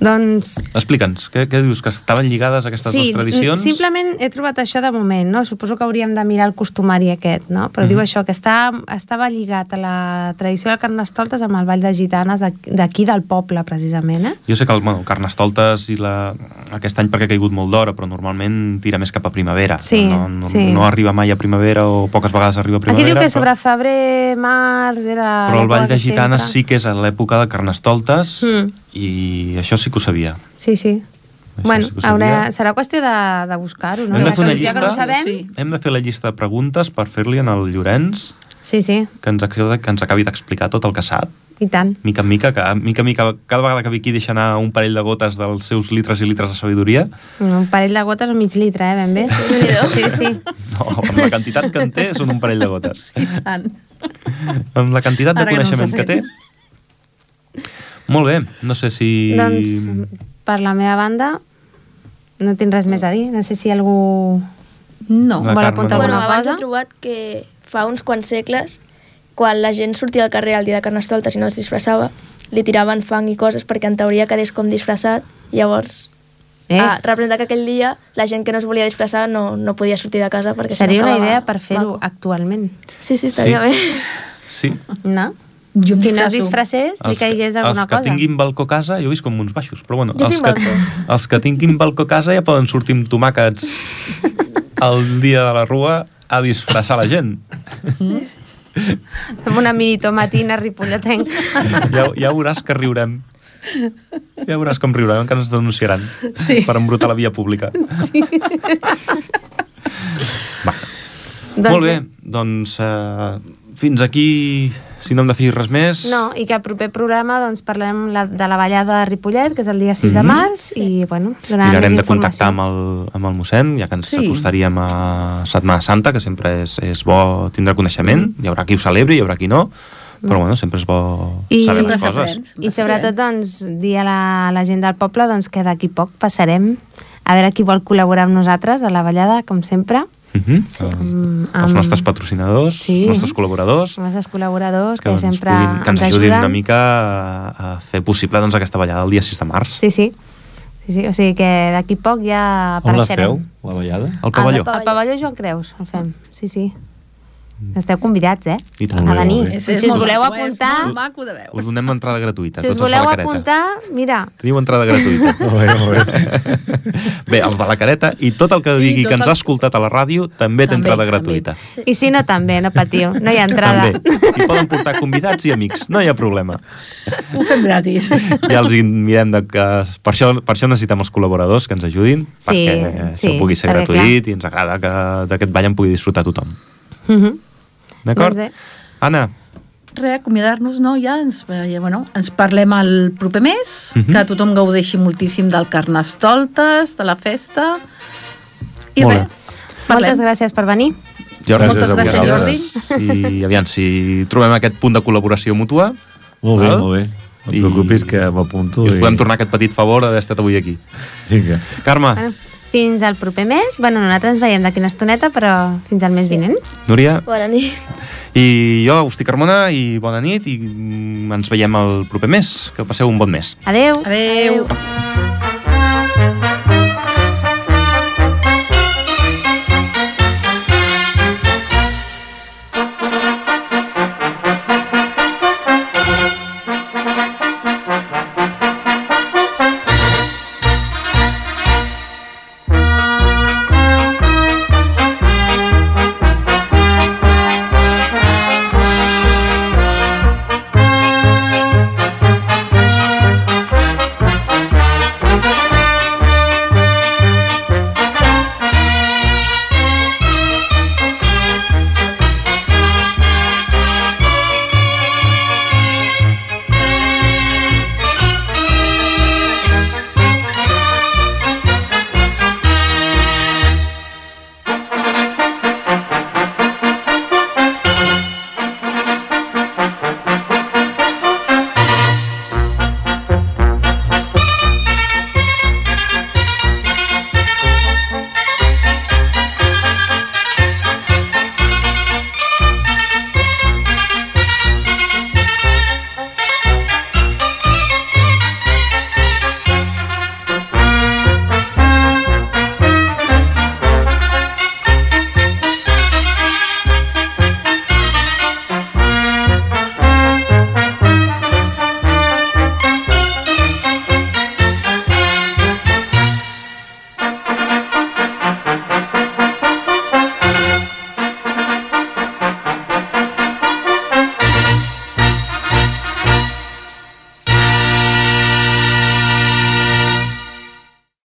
Doncs...
Explica'ns, què, què dius? Que estaven lligades aquestes
Sí,
dues tradicions?
simplement he trobat això de moment, no? Suposo que hauríem de mirar el costumari aquest, no? Però
Mm-hmm.
diu això, que està, estava lligat a la tradició del Carnestoltes amb el Ball de Gitanes d'aqu- d'aquí del poble, precisament, eh?
Jo sé que el, bueno, el Carnestoltes i la... aquest any perquè ha caigut molt d'hora, però normalment tira més cap a primavera.
Sí,
no, no,
sí.
no arriba mai a primavera o poques vegades arriba a
Aquí
primavera.
diu que
però-
sobre febrer, març, era...
Però el Vall de Gitanes
Gitanes
sí que és a l'època de Carnestoltes
Mm.
i això sí que ho sabia.
Sí, sí.
Això
bueno,
sí que ho
haurà,
sabia.
serà qüestió de, de buscar-ho, no?
Hem de
Ja
fer una
que- ja que no ho
llista?
sabem...
Sí.
Hem de fer la llista de preguntes per fer-li en el Llorenç
sí, sí,
que ens, acabi- que ens acabi d'explicar tot el que sap,
i tant.
mica en mica, que mica en mica, cada vegada que ve aquí deixa anar un parell de gotes dels seus litres i litres de sabidoria,
Un parell de gotes o mig litre, eh, ben bé. Sí, sí.
no, amb la quantitat que en té són un parell de gotes.
Sí, i tant.
amb la quantitat de
Ara que no
coneixement
se
que té.
sent.
Molt bé, no sé si...
Doncs, per la meva banda, no tinc res més a dir. No sé si algú...
No.
La
Vol
Carme,
apuntar
no.
Bueno,
alguna
abans
cosa?
he trobat que fa uns quants segles, quan la gent sortia al carrer el dia de Carnestoltes i no es disfressava, li tiraven fang i coses perquè en teoria quedés com disfressat, llavors
Eh?
eh? ah, representar que aquell dia la gent que no es volia disfressar no, no podia sortir de casa perquè si no
Seria una
acabava
idea per fer-ho
maco. Ah.
actualment,
Sí, sí, estaria
Sí.
sí.
Sí.
no?
Jo em
Qui no es
disfresso.
disfressés ni
Els
que hi hagués alguna
els que
cosa.
tinguin balcó a casa, jo visc com uns baixos, però bueno,
Jo
els
tinc
que,
balcó.
els que tinguin balcó a casa ja poden sortir amb tomàquets el dia de la rua a disfressar la gent.
Amb una mini tomatina ripolletenca.
Ja, ja veuràs que riurem. Ja veuràs com riurem, encara ens denunciaran
Sí.
per embrutar la via pública.
Doncs
Molt bé, doncs uh, fins aquí, si no hem de fer res més.
No, i que al proper programa doncs, parlarem la, de la ballada de Ripollet, que és el dia 6 de març, i bueno, donarem
Mirarem
més
Mhm. de contactar
informació.
amb el, amb el mossèn, ja que ens
Sí.
sí. acostaríem a Setmana Santa, que sempre és, és bo tindre coneixement. Hi haurà qui ho celebri, hi haurà qui no, però bueno, sempre és bo
Mm. I-
saber
Sempre
les coses.
s'aprens.
I sobretot, doncs, dir a la, la gent del poble doncs, que d'aquí poc passarem a veure qui vol col·laborar amb nosaltres a la ballada, com sempre,
Uh -huh.
Sí.
sí.
Mm,
Els
amb-
nostres patrocinadors,
Sí.
sí. els nostres col·laboradors,
amb els seus col·laboradors, que,
doncs,
sempre
puguin, que ens,
ens
ajudin
ajuden.
una mica a, a fer possible doncs, aquesta ballada el dia 6 de març.
Sí, sí. sí, sí. O sigui que d'aquí poc ja
On la
apareixerem.
feu, la ballada?
Al pavelló.
Al, al pavelló Joan Creus el fem, sí, sí. Esteu convidats, eh?
I tant.
A venir.
Mm. Molt bé.
I Si us
molt
voleu
maco, És molt
apuntar,
maco de veure.
Us donem entrada gratuïta.
si
tots els
us
de Tota la
voleu
careta.
apuntar, mira,
Teniu entrada gratuïta.
Molt bé, molt bé.
Bé, els de la careta i tot el que digui
tot
que ens
el-
ha escoltat a la ràdio també té
També,
entrada
també.
gratuïta.
i si no també, no patiu, no hi ha entrada.
També. I poden portar convidats i amics, no hi ha problema.
Ho fem gratis.
Ja els hi mirem de que... Per això, per això necessitem els col·laboradors que ens ajudin,
Sí,
perquè
sí,
això pugui ser
perquè,
gratuït i ens agrada que d'aquest ball en pugui disfrutar tothom.
Mhm.
D'acord?
Doncs bé.
Anna,
Re, acomiadar-nos, no? Ja ens, ja, bueno, ens parlem el proper mes,
Mhm.
que tothom gaudeixi moltíssim del Carnestoltes, de la festa, i
Molt
re,
bé.
parlem.
Moltes gràcies per venir.
Jordi,
Moltes
a
gràcies,
vosaltres. I aviam, si trobem aquest punt de col·laboració mútua,
Molt bé,
Val?
molt bé. No et
I-
preocupis que m'apunto.
Ah? i us podem tornar aquest petit favor d'haver estat avui aquí.
Vinga.
Carme,
Bueno, fins al proper mes. Bueno, nosaltres ens veiem d'aquí una estoneta, però fins al mes
Sí.
vinent.
Núria,
Bona nit.
I jo, Agustí Carmona, i bona nit, i mm, ens veiem el proper mes. Que passeu un bon mes.
Adeu.
Adéu.
Adéu.